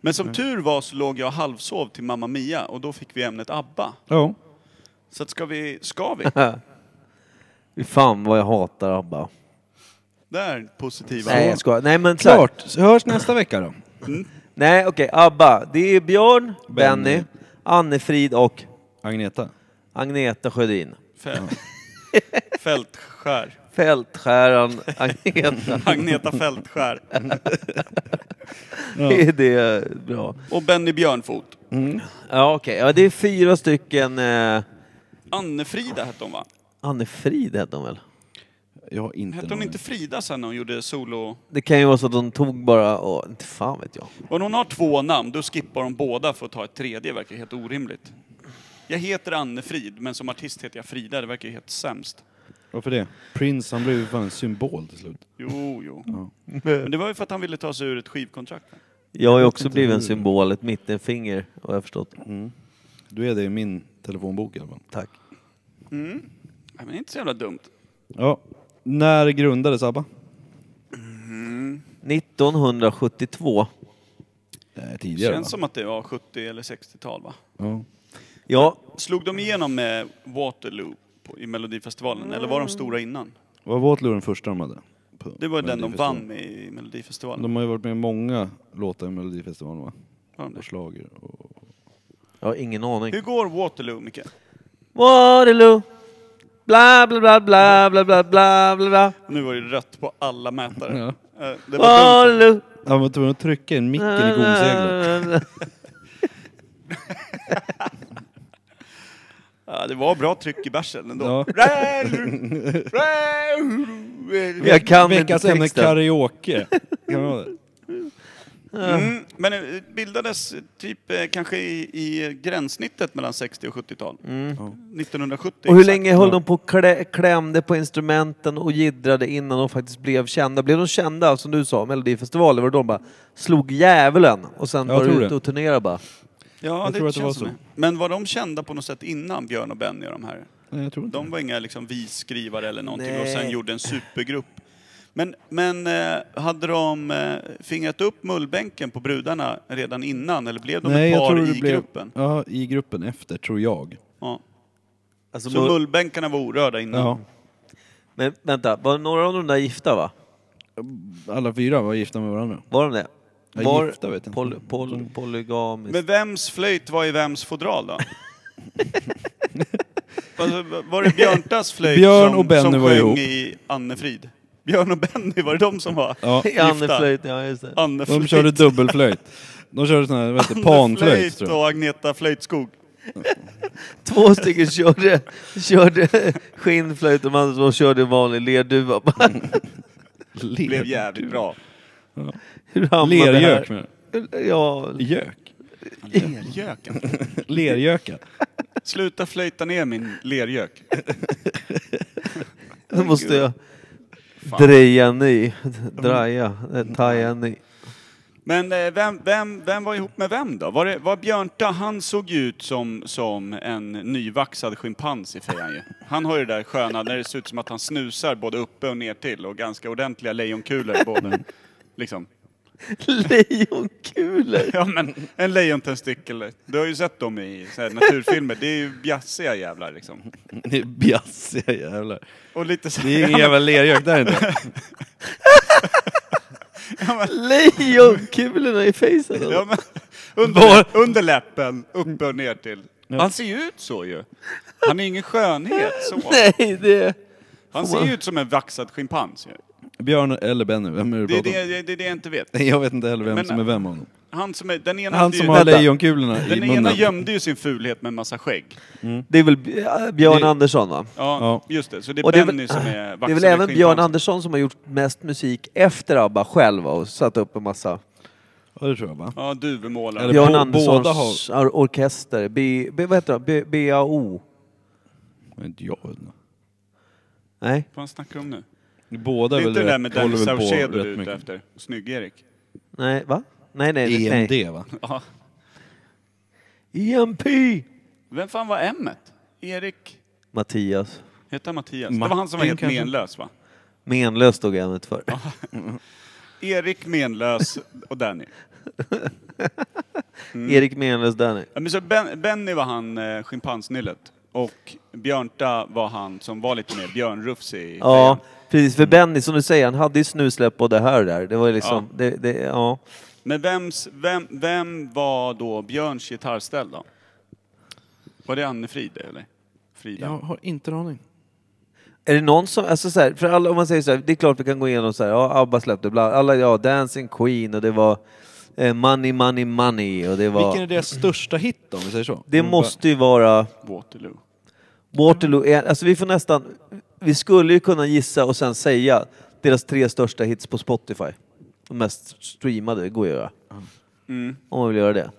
Speaker 1: Men som tur var så låg jag och halvsov till Mamma Mia och då fick vi ämnet ABBA.
Speaker 2: Ja.
Speaker 1: Så att ska vi, ska vi?
Speaker 3: Fy Fan vad jag hatar ABBA.
Speaker 1: Där, positiva.
Speaker 3: Nej jag skojar. Nej men klart.
Speaker 2: Klart. Så hörs nästa vecka då.
Speaker 3: Nej okej, ABBA. Det är Björn, Benny,
Speaker 2: Benny,
Speaker 3: Annefrid och
Speaker 2: Agneta.
Speaker 3: Agneta Sjödin.
Speaker 1: Fält. Fältskär.
Speaker 3: Fältskäran Agneta.
Speaker 1: Agneta Fältskär.
Speaker 3: Är det bra?
Speaker 1: Och Benny Björnfot.
Speaker 3: Ja okej, ja, det är fyra stycken... Eh,
Speaker 1: Anne-Frida hette hon va?
Speaker 3: Annefrid hette hon väl?
Speaker 2: Jag har inte
Speaker 1: Hette hon
Speaker 2: någon-
Speaker 1: inte Frida sen när hon gjorde solo...
Speaker 3: Det kan ju vara så att de tog bara... Åh, inte fan vet jag.
Speaker 1: Om hon har två namn, då skippar hon båda för att ta ett tredje. Det verkar helt orimligt. Jag heter Anne-Frid, men som artist heter jag Frida. Det verkar helt sämst.
Speaker 2: Varför det? Prince, han blev ju fan en symbol till slut.
Speaker 1: Jo, jo. Men det var ju för att han ville ta sig ur ett skivkontrakt.
Speaker 3: Jag har ju också blivit en symbol, ett mittenfinger har jag förstått.
Speaker 2: Du är det i min telefonbok i alla fall.
Speaker 3: Tack.
Speaker 1: Nej, men det är inte så jävla dumt.
Speaker 2: Ja. När grundades ABBA?
Speaker 3: 1972.
Speaker 2: Nej,
Speaker 1: Det
Speaker 2: Eh, tidigare
Speaker 1: känns som att det var 70 eller 60-tal va?
Speaker 2: Ja.
Speaker 3: Ja,
Speaker 1: Slog de igenom med Waterloo på, i Melodifestivalen, eller var de stora innan?
Speaker 2: Var Waterloo den första de hade? På
Speaker 1: Det var ju den de
Speaker 2: Melodifestivalen.
Speaker 1: vann med i Melodifestivalen.
Speaker 2: De har ju varit med i många låtar i Melodifestivalen va?
Speaker 1: Har de det?
Speaker 2: Och schlager och...
Speaker 3: jag har ingen aning.
Speaker 1: Hur går Waterloo, Micke?
Speaker 3: Waterloo. Bla, bla, bla, bla, bla, bla, bla, bla, bla.
Speaker 1: Nu var det rött på alla mätare.
Speaker 2: Ja.
Speaker 1: Eh, Det var dumt.
Speaker 3: Waterloo.
Speaker 2: Han var tvungen att trycka in micken i gomseglet.
Speaker 1: Ja, det var bra tryck i bärsen ändå.
Speaker 2: Ja.
Speaker 1: Rä- rä-
Speaker 3: Jag kan inte
Speaker 2: Veckans ämne
Speaker 3: texten.
Speaker 2: karaoke. Kan det vara det?
Speaker 1: Mm, men eh, bildades typ eh, kanske i, i gränssnittet mellan 60 och 70-tal. 1970.
Speaker 3: Mm. Och hur
Speaker 1: exakt.
Speaker 3: länge höll de på och klä, klämde på instrumenten och jiddrade innan de faktiskt blev kända? Blev de kända, som du sa, Melodifestivalen? Var det de bara slog djävulen och sen
Speaker 2: Jag
Speaker 3: var
Speaker 2: tror
Speaker 3: du ute
Speaker 2: det.
Speaker 3: och turnerade bara?
Speaker 1: Ja,
Speaker 2: Jag
Speaker 1: det
Speaker 2: tror att det
Speaker 1: känns
Speaker 2: var så.
Speaker 1: som det. Men var de kända på något sätt innan Björn och Benny och de här?
Speaker 2: Nej, jag tror inte
Speaker 1: De var inga liksom visskrivare eller någonting och
Speaker 3: Nej.
Speaker 1: sen gjorde en supergrupp. Men, men eh, hade de eh, fingrat upp mullbänken på brudarna redan innan eller blev de ett par i gruppen?
Speaker 2: Ja, i gruppen efter, tror jag.
Speaker 1: Ja.
Speaker 3: Alltså,
Speaker 1: Så
Speaker 3: mul-
Speaker 1: mullbänkarna var orörda innan?
Speaker 2: Ja.
Speaker 3: men vänta, var några av de där gifta va?
Speaker 2: Alla fyra var gifta med varandra.
Speaker 3: Var de det?
Speaker 2: Ja,
Speaker 3: Var
Speaker 2: gifta vet jag inte. Mm.
Speaker 3: poly, poly, polygamiskt?
Speaker 1: Men vems flöjt var i vems fodral då? alltså, var det Björntas flöjt
Speaker 2: Björn
Speaker 1: som,
Speaker 2: och Benny
Speaker 1: som
Speaker 2: var
Speaker 1: sjöng
Speaker 2: ihop.
Speaker 1: i Annefrid? Björn och Benny, var det de som var
Speaker 2: Ja.
Speaker 1: gifta?
Speaker 3: Anneflöjt, ja just det.
Speaker 1: Anneflöjt.
Speaker 2: De körde dubbelflöjt. De körde sån här, vad heter det, panflöjt
Speaker 1: Anneflöjt
Speaker 2: tror jag.
Speaker 1: och Agneta Flöjtskog.
Speaker 3: Två stycken körde, körde skinnflöjt och de andra två körde vanlig lerduva. Bara,
Speaker 1: Blev jävligt bra.
Speaker 3: Hur hamnade det
Speaker 2: Lergök
Speaker 3: här?
Speaker 2: menar
Speaker 3: Ja,
Speaker 2: du? Gök?
Speaker 1: Lergöken.
Speaker 2: Lergöka?
Speaker 1: Sluta flöjta ner min lergök.
Speaker 3: nu måste jag dreja en ny. Draja, eh, taja en ny.
Speaker 1: Men eh, vem, vem, vem var ihop med vem då? Var, det, var Björnta, han såg ju ut som, som en nyvaxad schimpans i fejan ju. Han har ju det där sköna när det ser ut som att han snusar både uppe och ner till och ganska ordentliga lejonkulor både. Liksom.
Speaker 3: Lejonkulor!
Speaker 1: Ja men en lejontestikel, du har ju sett dem i så här, naturfilmer, det är ju bjassiga jävlar liksom.
Speaker 2: Det är bjassiga jävlar.
Speaker 1: Och lite så här,
Speaker 2: Det är ingen jävla lergök där inte.
Speaker 3: Lejonkulorna i fejsen!
Speaker 1: Ja,
Speaker 3: alltså.
Speaker 1: men, under, under läppen, uppe och ner till. Han ser ju ut så ju. Han är ingen skönhet så.
Speaker 3: Nej, det...
Speaker 1: Han ser ju ut som en vaxad schimpans ju.
Speaker 2: Björn eller Benny, vem är det
Speaker 1: Det
Speaker 2: du
Speaker 1: är
Speaker 2: pratar
Speaker 1: det,
Speaker 2: om?
Speaker 1: det, är det jag inte vet.
Speaker 2: Jag vet inte heller vem
Speaker 1: Men-
Speaker 2: som är vem av dem.
Speaker 1: Han som är, den ena,
Speaker 2: Han
Speaker 1: hade
Speaker 2: som
Speaker 1: ju,
Speaker 2: har
Speaker 3: Vänta.
Speaker 2: lejonkulorna i
Speaker 1: den ena
Speaker 2: munnen.
Speaker 1: gömde ju sin fulhet med en massa skägg.
Speaker 3: Det är väl Bj- Björn
Speaker 1: Det-
Speaker 3: Andersson va?
Speaker 1: Ja,
Speaker 2: Ja.
Speaker 1: just det. Så det är
Speaker 3: Och det är
Speaker 1: Benny
Speaker 3: väl-
Speaker 1: som är
Speaker 3: Det är
Speaker 1: vaxade
Speaker 3: väl även Björn
Speaker 1: schimpansen.
Speaker 3: Andersson som har gjort mest musik efter ABBA själv va, och satt upp en massa...
Speaker 2: Ja, det tror jag va?
Speaker 1: Ja, duvemålare.
Speaker 2: Eller
Speaker 1: Ja.
Speaker 3: Björn
Speaker 2: bo- båda
Speaker 3: Anderssons
Speaker 2: har-
Speaker 3: or- orkester, B, B, vad heter det? B, BAO?
Speaker 2: Men inte jag vet inte.
Speaker 3: Nej?
Speaker 1: Vad fan snackar du om nu?
Speaker 2: Båda
Speaker 1: Det är
Speaker 2: är
Speaker 1: inte det där
Speaker 2: väl
Speaker 1: med
Speaker 2: rätt, håller
Speaker 1: Danny
Speaker 2: väl
Speaker 1: Saucedo
Speaker 2: på
Speaker 1: du är
Speaker 2: rätt
Speaker 1: ute
Speaker 2: mycket.
Speaker 1: efter? Snygg-Erik.
Speaker 3: Nej, va? Nej, nej, E nej.
Speaker 2: EMD E va?
Speaker 1: Ja.
Speaker 3: EMP!
Speaker 1: Vem fan var m Erik?
Speaker 3: Mattias.
Speaker 1: Hette han Mattias? det var
Speaker 2: Martin
Speaker 1: han som var helt
Speaker 2: kanske?
Speaker 1: menlös va?
Speaker 3: Menlös tog jag ämnet för.
Speaker 1: Erik Menlös och Danny.
Speaker 3: Erik Menlös Danny.
Speaker 1: Ja, Men så ben, Benny var han eh, schimpansnyllet och Björnta var han som var lite mer björnrufsig. i fejan.
Speaker 3: Ja, precis. För Benny, som du säger, han hade ju snusläpp både här och där. Det var ju liksom... Ja. Det, det, ja.
Speaker 1: Men vems, vem, vem var då Björns gitarrställ då? Var det Anne-Frida eller? Frida?
Speaker 2: Jag har inte en aning.
Speaker 3: Är det någon som... Alltså så här, för alla, om man säger så här, det är klart vi kan gå igenom så här, ja, ABBA släppte bland alla, ja, Dancing Queen och det var eh, Money, Money, Money och det var...
Speaker 2: Vilken är deras största hit då, om vi säger så? Mm,
Speaker 3: Det
Speaker 2: Om vi
Speaker 3: måste ju vara...
Speaker 1: Waterloo.
Speaker 3: Waterloo är, alltså vi får nästan, vi skulle ju kunna gissa och sen säga deras tre största hits på Spotify. De mest streamade, det går ju att göra.
Speaker 1: Mm.
Speaker 3: Om man vill göra det.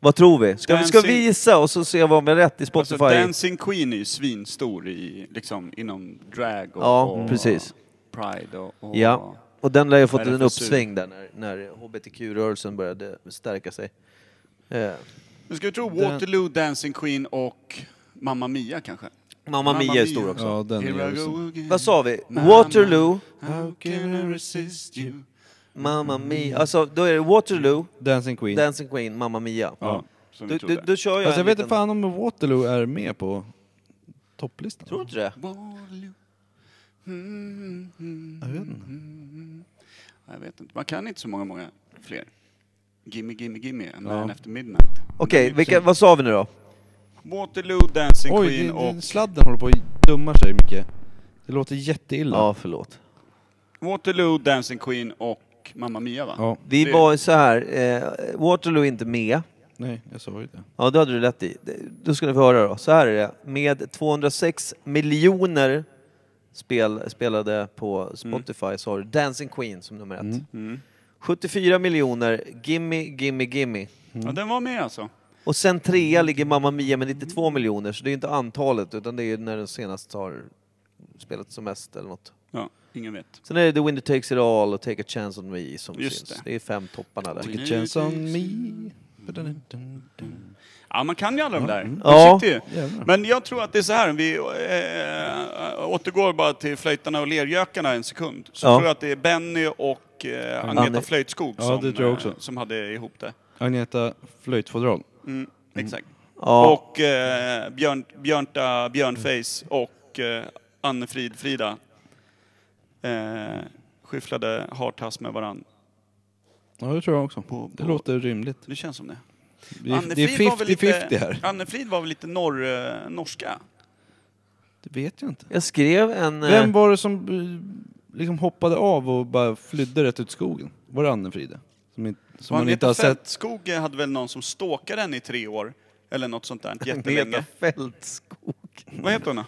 Speaker 3: Vad tror vi? Ska, vi? ska vi
Speaker 1: Dancing-
Speaker 3: gissa och så se vad vi har rätt i Spotify?
Speaker 1: Alltså Dancing Queen är ju svinstor i, liksom, inom drag och,
Speaker 3: Ja,
Speaker 1: och
Speaker 3: precis.
Speaker 1: Pride och... och
Speaker 3: ja. Och den lär ju ha fått
Speaker 1: Vad är det
Speaker 3: en
Speaker 1: för sur?
Speaker 3: uppsving där när, när HBTQ-rörelsen började stärka sig. Eh,
Speaker 1: Nu ska vi tro Waterloo, Dancing Queen och Mamma Mia kanske?
Speaker 3: Mamma Mia är stor också.
Speaker 2: Ja, den är
Speaker 1: Here I
Speaker 2: ju så.
Speaker 1: go again.
Speaker 3: Vad sa vi?
Speaker 1: Mamma.
Speaker 3: Waterloo,
Speaker 1: How can I resist you?
Speaker 3: Mamma Mia. Alltså då är det Waterloo,
Speaker 2: Dancing Queen.
Speaker 3: Dancing Queen, Mamma Mia.
Speaker 1: Mm. Ja, som
Speaker 3: Du,
Speaker 1: vi
Speaker 3: du,
Speaker 1: trodde.
Speaker 3: du kör jag
Speaker 2: Alltså jag
Speaker 3: en
Speaker 2: vet
Speaker 3: liten-
Speaker 2: inte fan om Waterloo är med på topplistan.
Speaker 3: Tror du inte det?
Speaker 1: Waterloo. Mm, mm,
Speaker 2: Jag vet inte.
Speaker 1: Mm-hmm. jag vet inte. Man kan inte så många, många fler. Gimme, gimme, gimme, A man
Speaker 2: Ja.
Speaker 1: after midnight. Mm-hmm.
Speaker 3: Okej, vilka- vad sa vi nu då?
Speaker 1: Waterloo, Dancing
Speaker 2: Oj,
Speaker 1: Queen
Speaker 2: din,
Speaker 1: och...
Speaker 2: din sladden håller på att dumma sig mycket. Det låter jätteilla.
Speaker 3: Ja, förlåt.
Speaker 1: Waterloo, Dancing Queen och Mamma Mia va?
Speaker 2: Ja,
Speaker 3: Vi
Speaker 1: Det-
Speaker 3: var ju så här, eh, Waterloo är inte med.
Speaker 2: Nej, jag sa ju det.
Speaker 3: Ja, det hade du rätt i. Det- Då ska ni få höra då. Så här är det. Med 206 miljoner spel, spelade på Spotify så har du Dancing Queen som nummer ett.
Speaker 1: Mm.
Speaker 3: 74 miljoner, Gimme, Gimme, Gimme.
Speaker 1: Ja,
Speaker 2: mm.
Speaker 1: den var med alltså.
Speaker 3: Och sen trea ligger Mamma Mia med 92 miljoner, så det är ju inte antalet utan det är ju när den senast har spelat som mest eller något.
Speaker 1: Ja, ingen vet.
Speaker 3: Sen är det The Winner Takes It All och Take a Chance On Me som
Speaker 1: Just
Speaker 3: syns.
Speaker 1: det.
Speaker 3: Det. är fem topparna där.
Speaker 1: Take a
Speaker 2: Chance on me. Ba-da-dum-dum-dum.
Speaker 1: Ja, man kan ju alla de där.
Speaker 3: Ja.
Speaker 1: Ja. Ju.
Speaker 2: Mm. Jävlar.
Speaker 1: Men jag tror att det är så här, vi eh, återgår bara till flöjtarna och lergökarna en sekund. Så
Speaker 3: Ja.
Speaker 1: tror jag att det är Benny och eh, Agneta
Speaker 3: Anne-
Speaker 1: Flöjtskog
Speaker 2: Mm. Ja,
Speaker 1: som,
Speaker 2: det tror jag
Speaker 1: eh,
Speaker 2: också.
Speaker 1: som hade ihop det.
Speaker 2: Agneta Flöjtfodral.
Speaker 1: Mm, Exakt.
Speaker 3: Ja.
Speaker 1: Och eh, Björn, Björnta Björnface och eh, Anne-Frid Frida eh, skyfflade hartass med varann.
Speaker 2: Ja, det tror jag också.
Speaker 1: På-
Speaker 2: Det
Speaker 1: på-
Speaker 2: låter rimligt.
Speaker 1: Det känns som det.
Speaker 2: Vi, det är
Speaker 1: Anne-Frid var väl
Speaker 2: 50-50
Speaker 1: lite-
Speaker 2: här.
Speaker 1: Anne-Frid var väl lite norr, eh, norska?
Speaker 2: Det vet jag inte.
Speaker 3: Jag skrev en... eh,
Speaker 2: Vem var det som eh, liksom hoppade av och bara flydde rätt ut i skogen? Var det Anne-Frida? Som, in- som man
Speaker 1: Agneta
Speaker 2: inte har sett?
Speaker 1: Fältskog eh, hade väl någon som stalkade henne i tre år? Eller något sånt där,
Speaker 3: Agneta
Speaker 1: jättelänge.
Speaker 3: Fältskog.
Speaker 1: Vad heter hon då?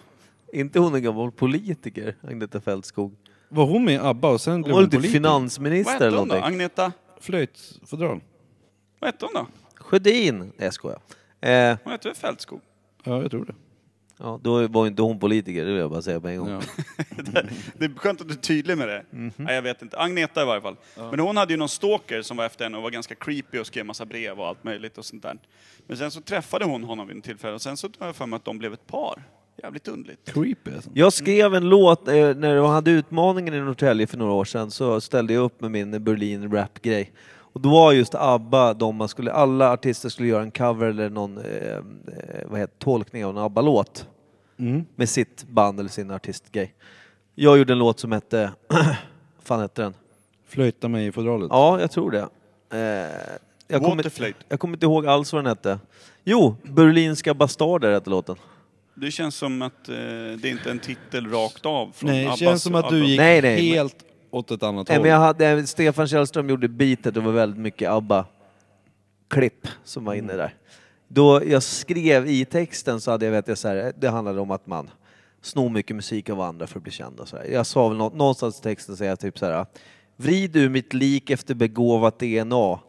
Speaker 3: inte hon en gammal politiker, Agneta Fältskog?
Speaker 2: Var hon med i ABBA och sen
Speaker 3: Hon
Speaker 2: blev
Speaker 3: var
Speaker 2: hon
Speaker 3: lite
Speaker 2: politiker?
Speaker 1: Vad
Speaker 3: finansminister
Speaker 1: hette
Speaker 3: eller
Speaker 1: hon då?
Speaker 3: någonting.
Speaker 1: Agneta?
Speaker 2: Flöjtfodral.
Speaker 1: Vad hette hon då?
Speaker 3: Sjödin! Nej, jag skojar. Eh,
Speaker 1: Hon hette väl Fältskog?
Speaker 2: Ja, jag tror det.
Speaker 3: ja, då var ju inte hon politiker, det vill jag bara säga på en gång.
Speaker 2: Ja.
Speaker 1: det, det är skönt att du är tydlig med det.
Speaker 2: Mhm.
Speaker 1: Nej, jag vet inte. Agneta i varje fall. Men hon hade ju någon stalker som var efter henne och var ganska creepy och skrev massa brev och allt möjligt och sånt där. Men sen så träffade hon honom vid en tillfälle och sen så tror jag för mig att de blev ett par. Jävligt underligt.
Speaker 2: Creepy alltså.
Speaker 3: Jag skrev en låt, eh, när jag hade utmaningen i Norrtälje för några år sedan så ställde jag upp med min Berlin rap-grej. Och då var just ABBA de man skulle, alla artister skulle göra en cover eller någon, eh, eh, vad heter tolkning av en ABBA-låt. Med sitt band eller sin artistgrej. Jag gjorde en låt som hette, vad fan hette den?
Speaker 2: Flöjta mig i fodralet.
Speaker 3: Ja, jag tror det. Eh, jag kommer
Speaker 1: Waterflöjt.
Speaker 3: jag kommer inte ihåg alls vad den hette. Jo, Berlinska bastarder hette låten.
Speaker 1: Det känns som att eh, det är inte en titel rakt av från
Speaker 2: Nej, det
Speaker 1: Abbas
Speaker 2: känns som att du
Speaker 1: album.
Speaker 2: gick
Speaker 3: Nej, nej, men-
Speaker 2: helt åt ett annat
Speaker 3: Nej,
Speaker 2: håll.
Speaker 3: men jag hade, eh, Stefan Källström gjorde beatet och var väldigt mycket ABBA-klipp som var inne där. Då jag skrev i texten så hade jag vet jag så här, det handlade om att man snor mycket musik av andra för att bli känd och så här. Jag sa väl nå- någonstans i texten säger jag typ så här, vrid ur mitt lik efter begåvat DNA.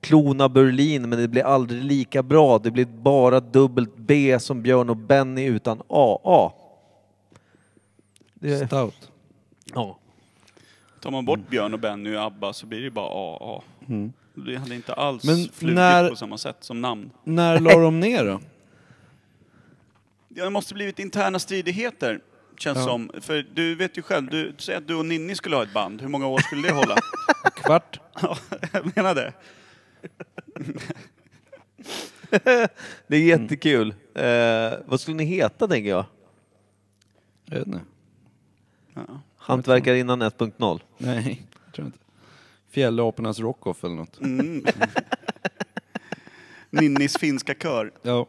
Speaker 3: Klona Berlin men det blir aldrig lika bra, det blir bara dubbelt B som Björn och Benny utan AA. Det,
Speaker 2: Stout.
Speaker 3: ja.
Speaker 1: Tar man
Speaker 2: Mm.
Speaker 1: bort Björn och Benny och Abba så blir det bara AA. Det hade inte alls
Speaker 2: Men
Speaker 1: flugit
Speaker 2: när-
Speaker 1: på samma sätt som namn.
Speaker 2: När la de ner då?
Speaker 1: Det måste blivit interna stridigheter, känns
Speaker 2: Ja.
Speaker 1: som. För du vet ju själv, du säger att du och Ninni skulle ha ett band. Hur många år skulle det hålla?
Speaker 2: Kvart?
Speaker 1: ja, jag menar det.
Speaker 3: Det är jättekul. Eh, vad skulle ni heta tänker jag?
Speaker 2: Jag vet inte.
Speaker 1: Ja.
Speaker 3: Hantverkarinnan 1.0.
Speaker 2: Nej, jag tror inte. Fjällapornas Rockoff eller något.
Speaker 1: Mm. Ninnis finska kör.
Speaker 2: Ja,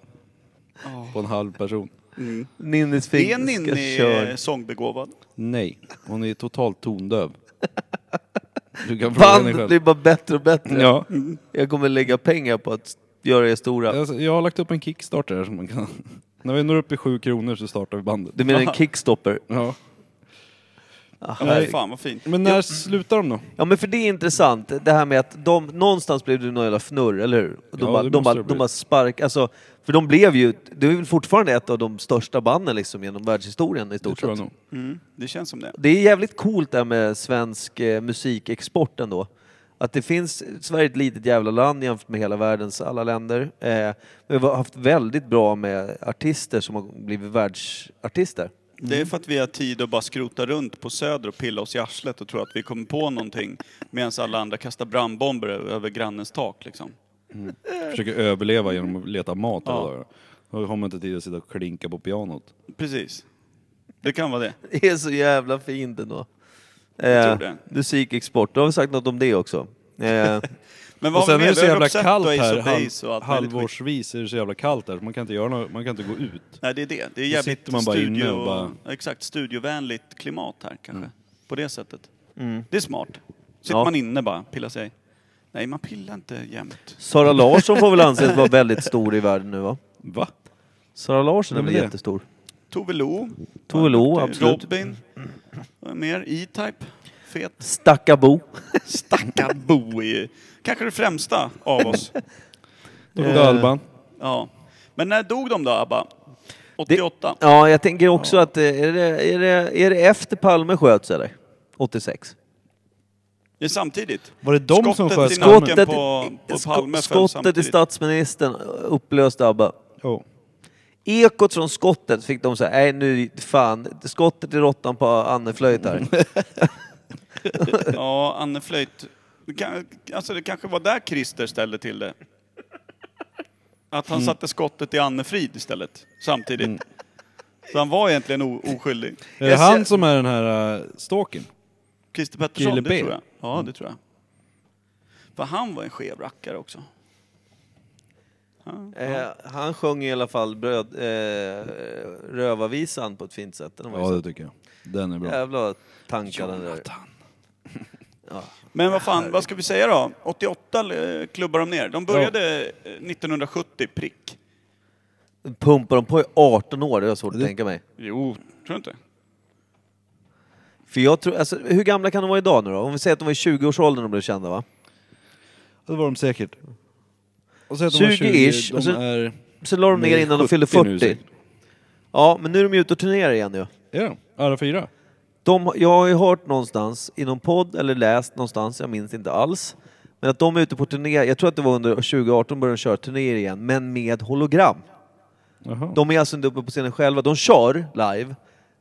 Speaker 1: Ja.
Speaker 2: på en halv person.
Speaker 1: Mm.
Speaker 3: Ninnis
Speaker 1: Är
Speaker 3: finska
Speaker 1: Ninni eh,
Speaker 3: kör.
Speaker 1: sångbegåvad?
Speaker 2: Nej, hon är totalt tondöv. Du kan fråga henne
Speaker 3: Bandet
Speaker 2: själv.
Speaker 3: blir bara bättre och bättre.
Speaker 2: Ja.
Speaker 3: Jag kommer lägga pengar på att göra er stora.
Speaker 2: Alltså, jag har lagt upp en kickstarter här som man kan... När vi når upp i sju kronor så startar vi bandet.
Speaker 3: Du menar en kickstopper?
Speaker 2: Ja.
Speaker 3: Ah,
Speaker 1: Ja,
Speaker 3: herregud.
Speaker 1: fy fan vad fint.
Speaker 2: Men när slutar de då?
Speaker 3: Ja men för det är intressant, det här med att de, någonstans blev det någon jävla fnurr, eller hur? Och De
Speaker 2: Ja,
Speaker 3: bara,
Speaker 2: det
Speaker 3: de
Speaker 2: måste
Speaker 3: bara,
Speaker 2: det bli.
Speaker 3: de bara spark, alltså, för de blev ju, det är väl fortfarande ett av de största banden liksom genom världshistorien i
Speaker 2: Det
Speaker 3: stort
Speaker 2: tror jag
Speaker 3: sett.
Speaker 2: nog.
Speaker 1: Mm. Det känns som det.
Speaker 3: Det är jävligt coolt det här med svensk eh, musikexport ändå. Att det finns, Sverige är ett litet jävla land jämfört med hela världens alla länder. Eh, men vi har haft väldigt bra med artister som har blivit världsartister.
Speaker 2: Mm.
Speaker 1: Det är för att vi har tid att bara skrota runt på Söder och pilla oss i arslet och tro att vi kommer på någonting medan alla andra kastar brandbomber ö- över grannens tak liksom.
Speaker 2: Försöker överleva genom att leta mat
Speaker 1: Ja.
Speaker 2: alla dagar. Då har man inte tid att sitta och klinka på pianot.
Speaker 1: Precis. Det kan vara det.
Speaker 3: Det är så jävla fint ändå. Eh,
Speaker 1: Jag tror det.
Speaker 3: musikexport, då har vi sagt något om det också. Eh,
Speaker 1: Men
Speaker 2: Och
Speaker 1: har vi
Speaker 2: sen är
Speaker 1: mer?
Speaker 2: det så
Speaker 1: Vi har
Speaker 2: jävla
Speaker 1: Roxette
Speaker 2: kallt
Speaker 1: och Ace
Speaker 2: här,
Speaker 1: of Base och
Speaker 2: halv,
Speaker 1: allt möjligt skit.
Speaker 2: halvårsvis är det så jävla kallt här så man kan inte göra något, man kan inte gå ut.
Speaker 1: Nej, det är det. Det är
Speaker 2: Då
Speaker 1: jävligt
Speaker 2: sitter man bara
Speaker 1: studio,
Speaker 2: inne och bara- Mm.
Speaker 1: ja, exakt, studiovänligt klimat här kanske. På det sättet.
Speaker 3: Mm.
Speaker 1: Det är smart. Sitter
Speaker 3: Ja.
Speaker 1: man inne bara, pillar sig. Nej, man pillar inte jämt.
Speaker 3: Sara Larsson får väl anses vara väldigt stor i världen nu va?
Speaker 2: Va?
Speaker 3: Sara Larsson är
Speaker 2: Vem är
Speaker 3: väl
Speaker 2: det?
Speaker 3: jättestor?
Speaker 1: Tove Lo.
Speaker 3: Tove Lo,
Speaker 1: Duktig.
Speaker 3: absolut.
Speaker 1: Robin. Vem mer? E-Type? Fet?
Speaker 3: Stackabo.
Speaker 1: Stackabo är ju kanske det främsta av oss.
Speaker 2: Då går Alban.
Speaker 1: Ja. Men när dog de då, ABBA? 88?
Speaker 3: Ja, jag tänker också att eh, är det, är, det, är det efter Palme sköts eller? 86?
Speaker 1: Det är samtidigt.
Speaker 2: Var det de
Speaker 1: Skottet
Speaker 2: som sköt
Speaker 1: i nacken
Speaker 3: Skottet-
Speaker 1: på, på
Speaker 3: sko-
Speaker 1: Palme föll
Speaker 3: skottet i
Speaker 1: samtidigt.
Speaker 3: statsministern upplöste ABBA.
Speaker 2: Jo.
Speaker 3: Ekot från skottet fick de säga, nej nu fan, skottet i råttan på Anneflöjt här.
Speaker 2: Mm.
Speaker 1: Ja, Anne Flöjt. Det, kan, alltså det kanske var där Christer ställde till det. Att
Speaker 2: Mm.
Speaker 1: han satte skottet i Anne Frid istället, samtidigt. Så han var egentligen o- oskyldig.
Speaker 2: Är det han som är den här uh, stalken?
Speaker 1: Christer Pettersson,
Speaker 2: Kille
Speaker 1: det
Speaker 2: B. Mm.
Speaker 1: tror jag. Ja, det tror jag. För han var en skev rackare också.
Speaker 3: Eh, han sjöng i alla fall bröd, eh, Rövarvisan på ett fint sätt. Den var
Speaker 2: Ja,
Speaker 3: ju
Speaker 2: det
Speaker 3: så
Speaker 2: tycker jag. Den är bra.
Speaker 3: jävla tankar den där.
Speaker 1: Men vad fan, vad ska vi säga då? 88 eh, klubbar de ner. De började eh, 1970 prick.
Speaker 3: Pumpar de på i 18 år, det har jag svårt att tänka mig.
Speaker 1: Jo, tror du inte?
Speaker 3: För jag tror, alltså, hur gamla kan de vara idag nu då? Om vi säger att de var i 20-årsåldern när de blev kända va?
Speaker 2: Det var de säkert. Och så att de var
Speaker 3: 20-ish,
Speaker 2: 20,
Speaker 3: och så-
Speaker 2: de är...
Speaker 3: Så la de
Speaker 2: De är
Speaker 3: ner innan de fyllde
Speaker 2: 70 nu
Speaker 3: 40.
Speaker 2: säkert.
Speaker 3: Ja, men nu är de ute och turnerar igen ju.
Speaker 2: Är de? Alla fyra?
Speaker 3: De, jag har ju hört någonstans, i någon podd eller läst någonstans, jag minns inte alls. Men att de är ute på turné, jag tror att det var under 2018 började de köra turnéer igen, men med hologram.
Speaker 2: Jaha.
Speaker 3: De är alltså inte uppe på scenen själva, de kör live,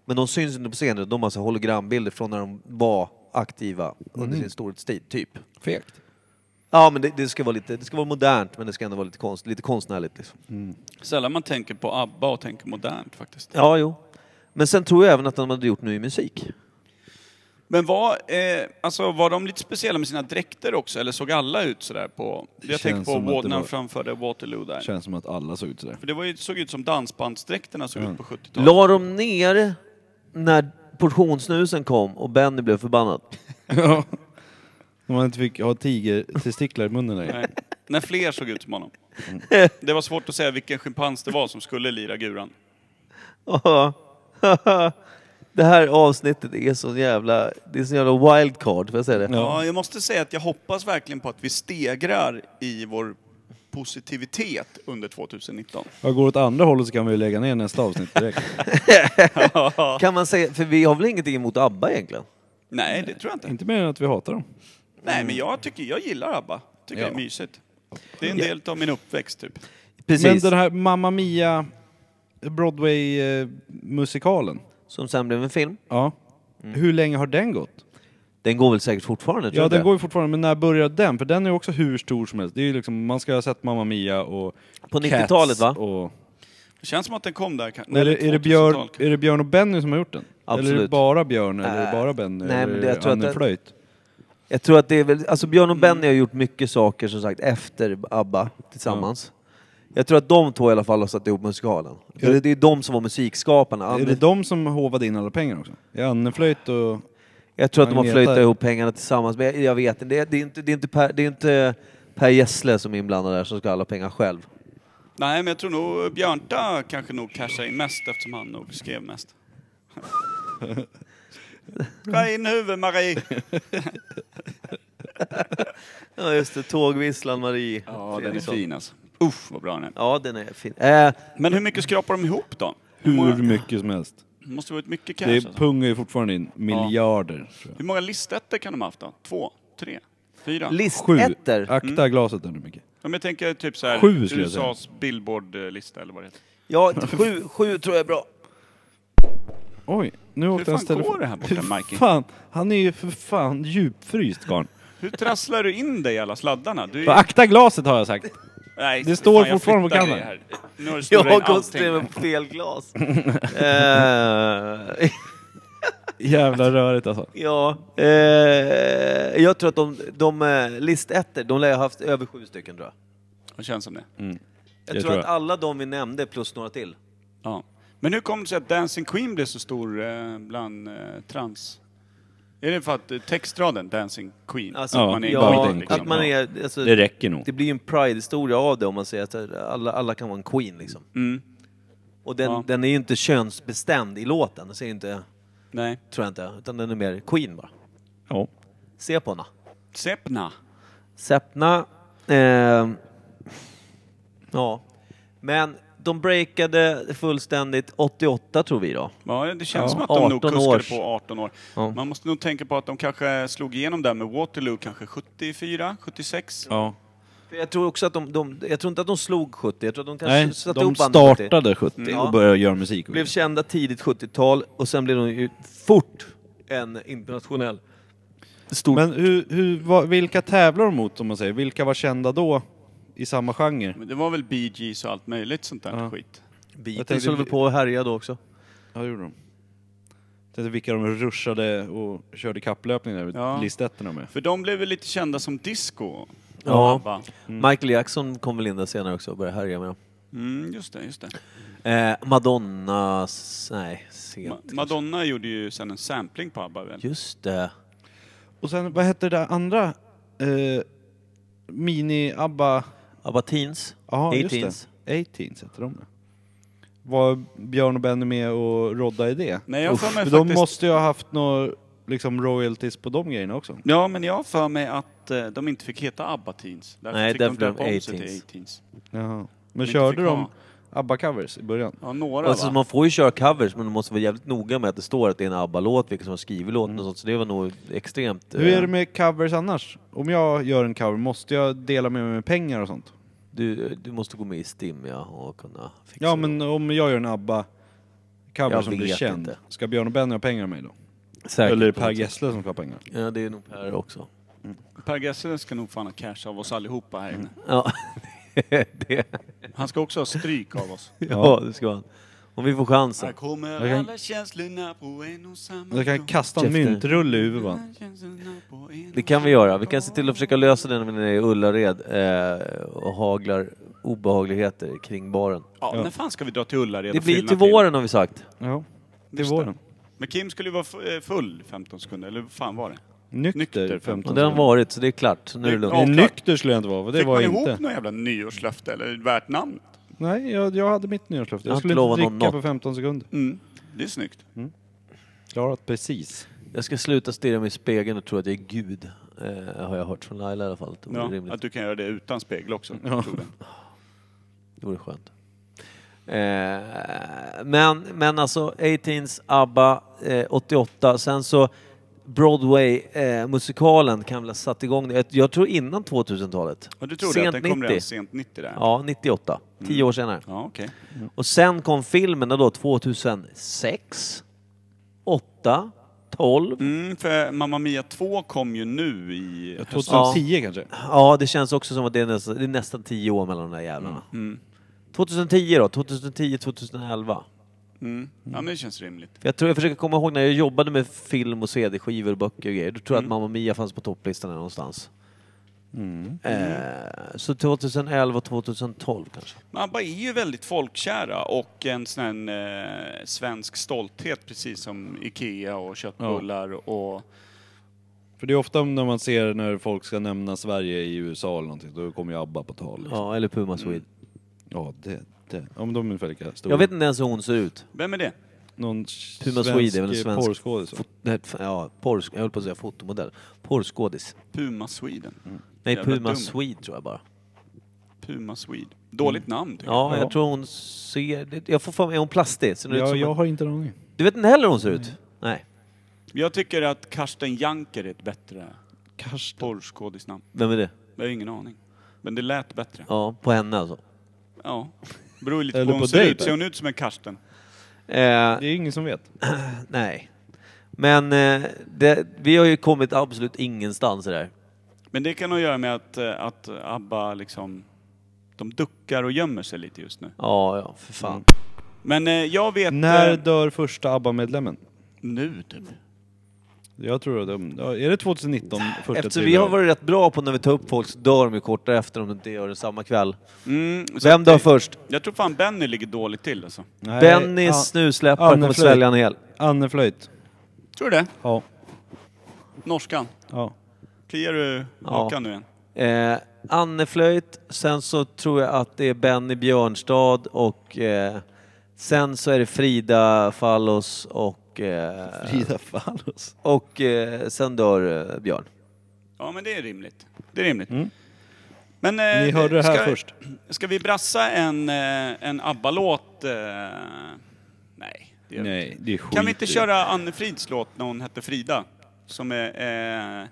Speaker 3: men de syns inte på scenen. De har alltså hologrambilder från när de var aktiva under sin storhetstid, typ.
Speaker 2: Fegt.
Speaker 3: Ja, men det, det ska vara lite, det ska vara modernt, men det ska ändå vara lite, konst, lite konstnärligt liksom.
Speaker 1: Sällan man tänker på ABBA och tänker modernt faktiskt.
Speaker 3: Ja, jo. Men sen tror jag även att de hade gjort ny musik.
Speaker 1: Men var, eh, alltså, var de lite speciella med sina dräkter också, eller såg alla ut sådär på... Jag
Speaker 2: känns
Speaker 1: tänker på
Speaker 2: som att
Speaker 1: Wa-
Speaker 2: det
Speaker 1: när de
Speaker 2: var-
Speaker 1: framförde Waterloo där.
Speaker 2: Känns som att alla såg ut sådär.
Speaker 1: För det var ju, såg ut som dansbandsdräkterna
Speaker 2: Mm.
Speaker 1: såg ut på 70-talet.
Speaker 3: La de ner när portionssnusen kom och Benny blev förbannad?
Speaker 2: Ja. Om man inte fick ha tigertestiklar i munnen längre.
Speaker 1: Nej. När fler såg ut som honom.
Speaker 2: Mm.
Speaker 1: Det var svårt att säga vilken schimpans det var som skulle lira guran.
Speaker 3: det här avsnittet är så jävla... Det är så jävla wildcard, får jag säga det?
Speaker 1: Ja. jag måste säga att jag hoppas verkligen på att vi stegrar i vår positivitet under 2019.
Speaker 2: Jag går åt andra hållet så kan vi lägga ner nästa avsnitt direkt.
Speaker 3: Kan man säga, för vi har väl ingenting emot ABBA egentligen?
Speaker 1: Nej, det tror jag inte.
Speaker 2: inte mer än att vi hatar dem.
Speaker 1: Nej,
Speaker 2: Mm.
Speaker 1: men jag, tycker, jag gillar ABBA. Tycker det är mysigt. Det är en del av min uppväxt, typ.
Speaker 3: Precis.
Speaker 2: Men den här Mamma Mia eh, Broadway-musikalen.
Speaker 3: Som sen blev en film.
Speaker 2: Ja. Hur länge har den gått?
Speaker 3: Den går väl säkert fortfarande?
Speaker 2: Ja,
Speaker 3: tror du
Speaker 2: den
Speaker 3: inte?
Speaker 2: går ju fortfarande, men när började den? För den är ju också hur stor som helst. Det är ju liksom, man ska ha sett Mamma Mia och
Speaker 3: På
Speaker 2: Cats
Speaker 3: 90-talet, va?
Speaker 2: Och...
Speaker 1: Det känns som att den kom där. kan-
Speaker 2: Är, det, är, det
Speaker 1: 2000-tal
Speaker 2: Björn,
Speaker 1: kanske.
Speaker 2: är det Björn och Benny som har gjort den? Eller är det
Speaker 3: Absolut.
Speaker 2: bara Björn, eller är det
Speaker 3: Äh,
Speaker 2: bara Benny?
Speaker 3: nej, men
Speaker 2: eller
Speaker 3: det- jag tror att
Speaker 2: Anne
Speaker 3: det-
Speaker 2: Flöjt?
Speaker 3: Jag tror att det är väl, alltså Björn och Benny
Speaker 2: Mm.
Speaker 3: har gjort mycket saker som sagt efter ABBA tillsammans. Jag tror att de två i alla fall har satt ihop musikalen.
Speaker 2: Ja.
Speaker 3: Det, det är de som var musikskaparna.
Speaker 2: Är det de som håvade in alla pengar också? Är Anne Flöjt och...
Speaker 3: jag tror att de har
Speaker 2: Agneta-
Speaker 3: flöjtat ihop pengarna tillsammans, men jag, jag vet inte. Det, det, är inte, det, är inte per, det är inte Per Gessle som är inblandad där som ska ha alla pengar själv.
Speaker 1: Nej, men jag tror nog Björnta kanske nog cashar in mest eftersom han nog skrev mest. Skär in huvudet Marie!
Speaker 3: Ja just det, Tågvisslan Marie Fredriksson.
Speaker 1: alltså. Usch vad bra den är.
Speaker 3: Ja den är fin. Eh,
Speaker 1: Men hur mycket skrapar de ihop då? Hur många,
Speaker 2: Hur mycket som helst.
Speaker 1: det måste varit mycket cash
Speaker 2: Det
Speaker 1: alltså.
Speaker 2: är, pungar ju fortfarande in miljarder. tror jag.
Speaker 1: Hur många listetter kan de ha haft då? Två? Tre? Fyra?
Speaker 2: Sju.
Speaker 3: listetter.
Speaker 2: Akta
Speaker 1: Mm.
Speaker 2: glaset där nu Micke.
Speaker 1: Om jag tänker typ så här
Speaker 2: Sju skulle jag säga.
Speaker 1: USAs Billboard-lista eller vad det heter.
Speaker 3: Ja, sju, sju tror jag är bra.
Speaker 2: Oj, nu åkte
Speaker 1: fan
Speaker 2: hans telefon.
Speaker 1: går det här borta, Mikey?
Speaker 2: Hur fan? Han är ju för fan djupfryst karln.
Speaker 1: Hur trasslar du in dig i alla sladdarna? Du,
Speaker 2: Så Akta glaset har jag sagt.
Speaker 1: nej,
Speaker 2: det står
Speaker 1: jag
Speaker 2: fortfarande på
Speaker 1: flyttar
Speaker 2: kanten.
Speaker 1: dig här. Nu har du
Speaker 3: Jag har
Speaker 1: snurrat in
Speaker 3: koncentrerat
Speaker 1: allting.
Speaker 3: mig på fel glas. eh,
Speaker 2: Jävla rörigt alltså.
Speaker 3: ja, eh, jag tror att de, de eh, listetter, de lär ha haft över sju stycken tror jag.
Speaker 1: Det känns som det.
Speaker 2: Mm.
Speaker 3: Jag,
Speaker 2: Jag
Speaker 3: tror,
Speaker 2: tror
Speaker 3: att
Speaker 2: jag.
Speaker 3: alla de vi nämnde plus några till.
Speaker 1: Ja. Men hur kom det sig att Dancing Queen blev så stor eh, bland eh, trans? Är det för att eh, textraden Dancing Queen?
Speaker 3: Alltså,
Speaker 2: Ja,
Speaker 1: att man är
Speaker 2: ja,
Speaker 1: queen, liksom.
Speaker 3: att man är, alltså,
Speaker 2: Det räcker nog.
Speaker 3: det blir ju en pride-historia av det om man säger att alla, alla kan vara en
Speaker 2: Mm.
Speaker 3: queen liksom. Och den,
Speaker 1: Ja.
Speaker 3: den är ju inte könsbestämd i låten. Den säger inte
Speaker 1: Nej.
Speaker 3: tror jag inte. Utan den är mer Queen bara.
Speaker 2: Ja.
Speaker 3: Se på henne.
Speaker 1: Sepna.
Speaker 3: Sepna. Eh, ja. Men de breakade fullständigt 88 tror vi då.
Speaker 1: Ja, det känns
Speaker 2: Ja.
Speaker 1: som att de nog
Speaker 3: 18
Speaker 1: kuskade
Speaker 3: års.
Speaker 1: på 18 år.
Speaker 3: Ja.
Speaker 1: Man måste nog tänka på att de kanske slog igenom där med Waterloo kanske 74, 76?
Speaker 2: ja.
Speaker 3: För Jag tror också att de, de, jag tror inte att de slog 70, jag tror att de kanske
Speaker 2: Nej,
Speaker 3: satte
Speaker 2: de
Speaker 3: ihop bandet 70.
Speaker 2: startade 70
Speaker 3: Ja.
Speaker 2: och började göra musik.
Speaker 3: Blev kända tidigt 70-tal och sen blev de ju fort en internationell stor...
Speaker 2: Men hur, hur, vad, vilka tävlar de mot om man säger? Vilka var kända då i samma genre?
Speaker 1: Men det var väl Bee Gees och allt möjligt sånt där
Speaker 2: Ja.
Speaker 1: skit.
Speaker 2: jag
Speaker 3: Beatles
Speaker 2: tänkte-
Speaker 3: höll väl på att härja då också.
Speaker 2: Ja, det gjorde de. Tänkte vilka de ruschade och körde kapplöpning där,
Speaker 1: Ja.
Speaker 2: ja. listetterna med.
Speaker 1: För de blev väl lite kända som disco? och
Speaker 3: Ja.
Speaker 1: ABBA.
Speaker 3: Michael Jackson kom väl in där senare också och började härja med dem.
Speaker 1: Mm, just det, just det.
Speaker 3: Eh, Madonna... s- Nej, sent.
Speaker 1: Ma- Madonna gjorde ju sen en sampling på ABBA väl?
Speaker 3: Just det.
Speaker 2: Och sen, vad hette det där andra? Eh, Mini-ABBA...
Speaker 3: Abba Teens.
Speaker 2: Ja, just
Speaker 3: 18s.
Speaker 2: det. 18s hette de det. Var Björn och Benny med och rodda i det?
Speaker 1: Nej, jag har för mig
Speaker 2: för De
Speaker 1: faktiskt-
Speaker 2: måste ju ha haft några liksom, royalties på de grejerna också.
Speaker 1: Ja, men jag har för mig att eh, de inte fick heta ABBA Teens. Därför
Speaker 3: Nej,
Speaker 1: fick
Speaker 3: därför
Speaker 1: de döpa
Speaker 3: blev de
Speaker 1: om sig till
Speaker 3: 18s.
Speaker 1: 18s.
Speaker 2: Jaha. Men,
Speaker 1: inte
Speaker 2: körde
Speaker 1: fick
Speaker 2: de
Speaker 1: ha.
Speaker 2: ABBA-covers i början?
Speaker 1: Ja, några
Speaker 3: Alltså,
Speaker 1: va?
Speaker 3: man får ju köra covers men man måste vara jävligt noga med att det står att det är en ABBA-låt, vilka som har skrivit låten och sånt. Så det var nog extremt...
Speaker 2: Hur är
Speaker 3: eh,
Speaker 2: det med covers annars? Om jag gör en cover, måste jag dela med mig med pengar och sånt?
Speaker 3: Du, du måste gå med i STIM ja, och kunna fixa
Speaker 2: Ja,
Speaker 3: det.
Speaker 2: men om jag gör en ABBA-cover
Speaker 3: Jag
Speaker 2: som blir
Speaker 3: vet
Speaker 2: känd,
Speaker 3: inte.
Speaker 2: ska Björn och Benny ha pengar av mig då?
Speaker 3: Säkert
Speaker 2: Eller är det
Speaker 3: på
Speaker 2: Per
Speaker 3: något sätt.
Speaker 2: Gessle som ska ha pengar?
Speaker 3: Ja, det är nog Per också.
Speaker 1: Per Gessle ska nog fan ha cash av oss allihopa här inne.
Speaker 3: Ja, det,
Speaker 1: Han ska också ha stryk av oss.
Speaker 3: ja, det ska han. Om vi får
Speaker 1: Här
Speaker 3: chansen.
Speaker 1: kommer
Speaker 2: Jag kan-
Speaker 1: alla känslorna på en och samma
Speaker 2: Jag kan
Speaker 1: gång.
Speaker 2: kasta en
Speaker 3: Käften.
Speaker 2: myntrulle i huvudet bara.
Speaker 1: Alla känslorna på en
Speaker 3: Det
Speaker 1: och
Speaker 3: kan vi
Speaker 1: samma
Speaker 3: göra. Vi kan se
Speaker 1: gång.
Speaker 3: till att försöka lösa det när vi är nere i Ullared eh, och haglar obehagligheter kring baren.
Speaker 1: Ja,
Speaker 2: Ja.
Speaker 1: när fan ska vi dra till Ullared
Speaker 3: Det
Speaker 1: och
Speaker 3: blir
Speaker 1: fylla
Speaker 3: till våren har vi sagt.
Speaker 2: Ja, det
Speaker 1: Just
Speaker 2: var den.
Speaker 1: Men Kim skulle ju vara fu- eh, full 15 sekunder, eller vad fan var det? Nykter,
Speaker 2: Nykter, 15
Speaker 3: Och det har
Speaker 2: sekunder.
Speaker 3: varit, så det är klart. Så nu är det
Speaker 2: Nej,
Speaker 1: Ja, klart.
Speaker 3: lugnt.
Speaker 2: nykter skulle jag inte vara, för det
Speaker 1: Fick
Speaker 2: var
Speaker 1: man
Speaker 2: jag
Speaker 1: ihop
Speaker 2: inte.
Speaker 1: något jävla nyårslöfte, eller värt namnet?
Speaker 2: Nej, jag, jag hade mitt nyårslöfte.
Speaker 3: Jag
Speaker 2: Jag
Speaker 3: har inte
Speaker 2: skulle inte
Speaker 3: lovat någon
Speaker 2: dricka på
Speaker 3: något.
Speaker 2: 15 sekunder.
Speaker 1: Mm. Det är snyggt.
Speaker 2: Klarat precis.
Speaker 3: Jag ska sluta stirra mig i spegeln och tro att jag är gud. Eh, har jag hört från Laila i alla fall. Det vore
Speaker 1: Ja,
Speaker 3: rimligt.
Speaker 1: att du kan göra det utan spegel också.
Speaker 2: Ja.
Speaker 1: tror jag.
Speaker 3: Det vore skönt. Eh, men, men alltså, 18s, ABBA, eh, 88. Sen så Broadway-musikalen kan väl ha satt igång det. Jag- Jag tror innan 2000-talet.
Speaker 1: Ja, du trodde
Speaker 3: Sent
Speaker 1: att den kom
Speaker 3: 90.
Speaker 1: redan sent 90 där?
Speaker 3: Ja, 98. Tio år senare.
Speaker 1: Ja, okej.
Speaker 3: Och sen kom filmerna då 2006, 8, 12.
Speaker 1: Mm, för Mamma Mia 2 kom ju nu i...
Speaker 2: Mm.
Speaker 1: höst.
Speaker 2: 2010 kanske?
Speaker 3: Ja, det känns också som att det är nästan, det är nästan tio år mellan de där jävlarna.
Speaker 1: Mm.
Speaker 3: 2010 då? 2010, 2011?
Speaker 1: Mm. Ja, men det känns rimligt.
Speaker 3: För Jag tror jag försöker komma ihåg när jag jobbade med film och CD-skivor och böcker och grejer. Då tror jag att Mamma Mia fanns på topplistan här någonstans. Eh, så 2011 och 2012 kanske.
Speaker 1: Men ABBA är ju väldigt folkkära och en sån här eh, svensk stolthet precis som IKEA och köttbullar och...
Speaker 2: För det är ofta när man ser när folk ska nämna Sverige i USA eller någonting, då kommer ju ABBA på tal. Liksom. Ja.
Speaker 3: Ja, eller Puma Swede.
Speaker 2: det, det. Ja, men de är ungefär lika stora.
Speaker 3: Mm. Jag vet inte ens hur hon ser ut.
Speaker 1: Vem är det?
Speaker 2: Någon
Speaker 3: Puma
Speaker 2: svensk,
Speaker 3: Swede är väl en svensk
Speaker 2: porrskådis? va?
Speaker 3: Fot- nej, f- ja, porr, jag höll på att säga fotomodell. Porrskådis.
Speaker 1: Puma Sweden.
Speaker 3: Nej,
Speaker 1: Jävla
Speaker 3: Puma
Speaker 1: dum.
Speaker 3: Swede tror jag bara.
Speaker 1: Puma Swede. Dåligt namn tycker
Speaker 3: Ja,
Speaker 2: Ja.
Speaker 3: jag tror hon ser... det- Jag får för mig, är hon plastig? Ser hon ut
Speaker 2: Ja,
Speaker 3: som
Speaker 2: jag
Speaker 3: en...
Speaker 2: har inte någon aning.
Speaker 3: Du vet inte heller hur hon ser ut? Nej.
Speaker 1: jag. Jag tycker att Karsten Janker är ett bättre
Speaker 2: Karsten.
Speaker 1: porrskådisnamn.
Speaker 3: Vem är det?
Speaker 1: Jag har ingen aning. Men det lät bättre.
Speaker 3: Ja, på henne alltså.
Speaker 1: Ja. Beror ju lite
Speaker 2: Eller
Speaker 1: på hur
Speaker 2: på
Speaker 1: hon ser
Speaker 2: dig,
Speaker 1: ut. Ser hon ut som en Karsten?
Speaker 3: Eh,
Speaker 2: Det är ingen som vet.
Speaker 3: Nej. Men eh, det, vi har ju kommit absolut ingenstans i det här.
Speaker 1: Men det kan nog göra med att, eh, att ABBA liksom... De duckar och gömmer sig lite just nu.
Speaker 3: Ja, ja, för fan.
Speaker 1: Men eh, jag vet...
Speaker 2: När
Speaker 1: eh,
Speaker 2: dör första ABBA-medlemmen?
Speaker 1: Nu typ.
Speaker 2: Jag tror att de... Ja, är det 2019? Första
Speaker 3: Eftersom vi
Speaker 2: thriller?
Speaker 3: har varit rätt bra på när vi tar upp folk så dör de ju kort därefter om de inte gör det samma kväll.
Speaker 1: Mm, så
Speaker 3: Vem
Speaker 1: att
Speaker 3: dör
Speaker 1: det-
Speaker 3: först?
Speaker 1: Jag tror fan Benny ligger dåligt till alltså.
Speaker 2: Nej,
Speaker 3: Benny
Speaker 2: An-
Speaker 3: snusläppar kommer
Speaker 2: Anne Flöjt.
Speaker 3: svälja en hel.
Speaker 2: Anne Flöjt.
Speaker 1: Tror du det?
Speaker 2: Ja.
Speaker 1: Norskan.
Speaker 2: ja.
Speaker 1: Kliar du hakan nu igen?
Speaker 3: Eh, Anne Flöjt, sen så tror jag att det är Benny Björnstad och eh, sen så är det Frida Fallos och och, eh,
Speaker 5: Frida Fallos.
Speaker 3: och eh, sen dör eh, Björn.
Speaker 1: Ja, men det är rimligt. Det är rimligt. Men, eh,
Speaker 5: Ni hörde det här
Speaker 1: ska,
Speaker 5: först.
Speaker 1: Ska vi brassa en, eh, en ABBA-låt? eh? Nej, det gör vi
Speaker 2: Nej, det är skit
Speaker 1: Kan vi inte
Speaker 2: i.
Speaker 1: köra Anne Frids låt när hon hette Frida? Som är eh,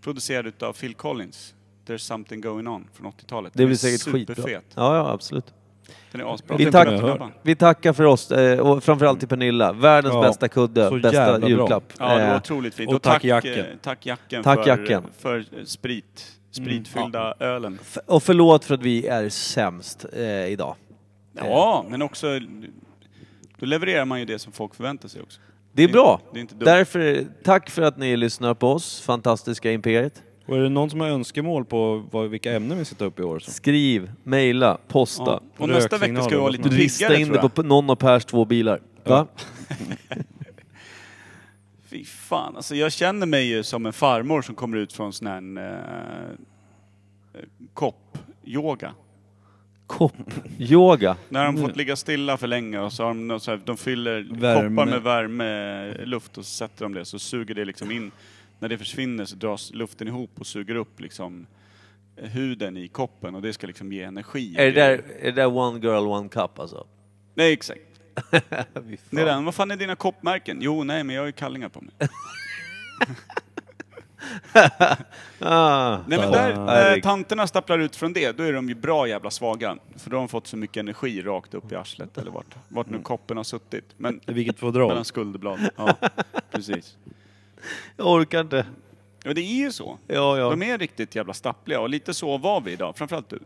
Speaker 1: producerad utav Phil Collins. There's something going on från 80-talet.
Speaker 3: Det
Speaker 1: Den
Speaker 3: blir
Speaker 1: är
Speaker 3: säkert skitbra. Ja,
Speaker 1: superfet.
Speaker 3: ja, absolut.
Speaker 1: Den är asbra.
Speaker 3: Vi
Speaker 1: Den
Speaker 3: tack-
Speaker 1: borde jag ha.
Speaker 3: Vi tackar för oss eh, och framförallt till Pernilla. Världens
Speaker 2: Ja,
Speaker 3: bästa kudde,
Speaker 2: så
Speaker 3: bästa
Speaker 2: jävla bra.
Speaker 3: julklapp.
Speaker 1: Ja, det var
Speaker 3: Eh,
Speaker 1: otroligt fint.
Speaker 2: och
Speaker 1: tack,
Speaker 2: tack Jacken.
Speaker 1: eh, Tack Jacken,
Speaker 3: Tack
Speaker 1: för,
Speaker 3: Jacken. Mm,
Speaker 1: för sprit, spritfyllda ölen.
Speaker 3: f- och förlåt för att vi är sämst eh, idag.
Speaker 1: Ja, men också... Då levererar man ju det som folk förväntar sig också.
Speaker 3: Det är bra.
Speaker 1: Det är inte dumt.
Speaker 3: Därför, tack för att ni lyssnar på oss, fantastiska Imperiet.
Speaker 2: Och är det någon som har önskemål på vad, vilka ämnen vi ska ta upp i år? Så?
Speaker 3: Skriv, mejla,
Speaker 1: Ja.
Speaker 3: posta.
Speaker 1: Och nästa vecka ska vi vara lite
Speaker 2: Röksignaler.
Speaker 3: Rista
Speaker 1: piggare
Speaker 3: in
Speaker 1: tror
Speaker 3: det
Speaker 1: jag.
Speaker 3: på någon av Pers två bilar. Va?
Speaker 1: Fy fan, alltså jag känner mig ju som en farmor som kommer ut från sån här en, eh, kopp-yoga.
Speaker 3: Kopp. Yoga.
Speaker 1: När de fått ligga stilla för länge och så har de, något så här, de fyller
Speaker 2: Värme.
Speaker 1: koppar med värme, luft och så sätter de det så suger det liksom in. När det försvinner så dras luften ihop och suger upp liksom huden i koppen och det ska liksom ge energi.
Speaker 3: Är det, där, är det där One Girl One Cup alltså?
Speaker 1: Nej exakt.
Speaker 3: Fy fan.
Speaker 1: Det är den. Vad fan är dina koppmärken? Jo, nej men jag har ju kallingar på mig.
Speaker 3: Ah.
Speaker 1: Nej men
Speaker 2: Fan.
Speaker 1: där, när
Speaker 3: Herregud.
Speaker 1: tanterna stapplar ut från det, då är de ju bra jävla svaga. För då har de fått så mycket energi rakt upp i arslet eller vart, vart
Speaker 3: Mm.
Speaker 1: nu koppen har suttit. Men
Speaker 2: Vilket fodral?
Speaker 1: mellan skulderblad. Ja, precis.
Speaker 3: Jag orkar inte.
Speaker 1: Ja det är ju så.
Speaker 3: Ja, ja.
Speaker 1: De är riktigt jävla stappliga och lite så var vi idag, framförallt du.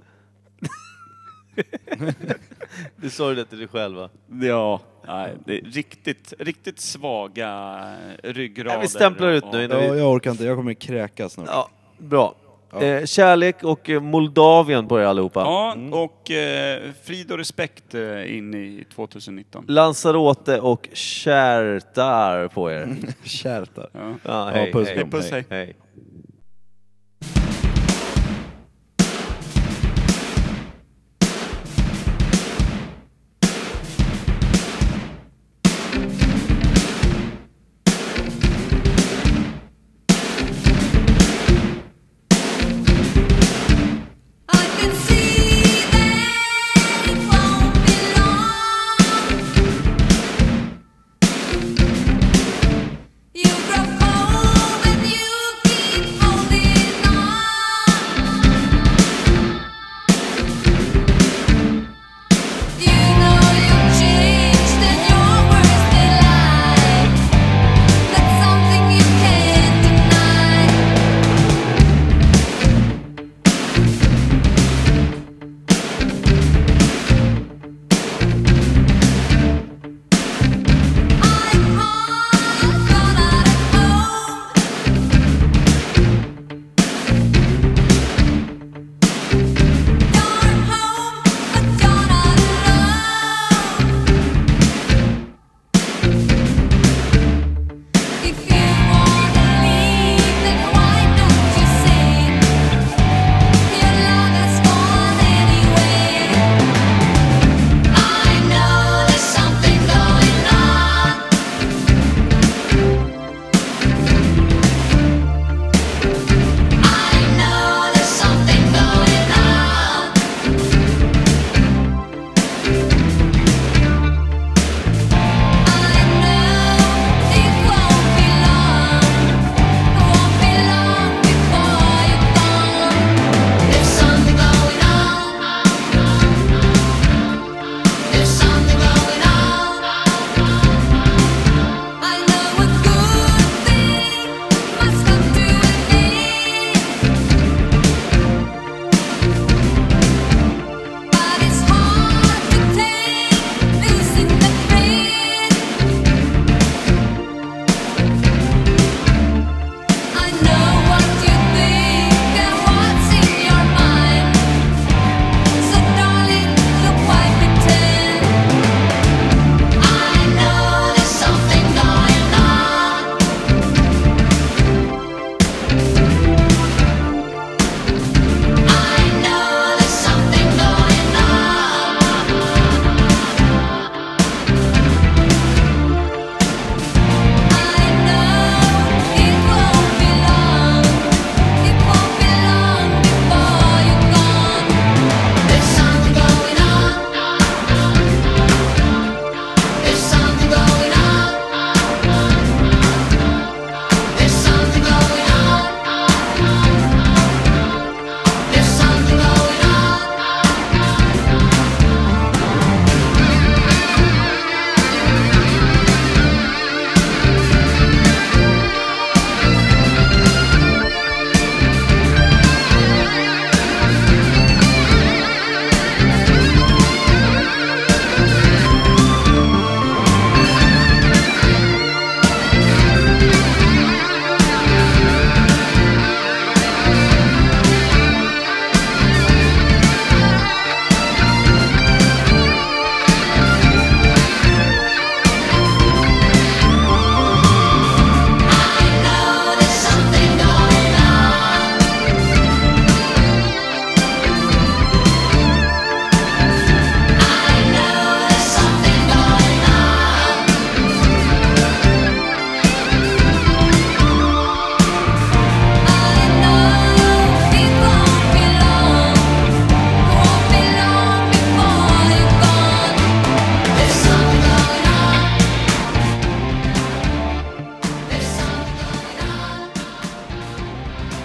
Speaker 3: Du sa ju det till dig själv va?
Speaker 1: Ja. Nej, det är riktigt, riktigt svaga ryggrader.
Speaker 3: Nej, vi stämplar ut
Speaker 1: och-
Speaker 3: nu innan
Speaker 5: Ja,
Speaker 3: vi...
Speaker 5: jag orkar inte. Jag kommer kräkas snart.
Speaker 3: Ja, bra. Eh, kärlek och eh, Moldavien på er allihopa.
Speaker 1: Ja, och eh, frid och respekt eh, in i 2019.
Speaker 3: Lanzarote och Kärtar på er.
Speaker 5: Kärtar.
Speaker 1: Ja.
Speaker 3: Ja,
Speaker 2: Ja,
Speaker 3: hej,
Speaker 2: puss,
Speaker 3: hej,
Speaker 2: kram.
Speaker 1: Puss, hej.
Speaker 3: hej.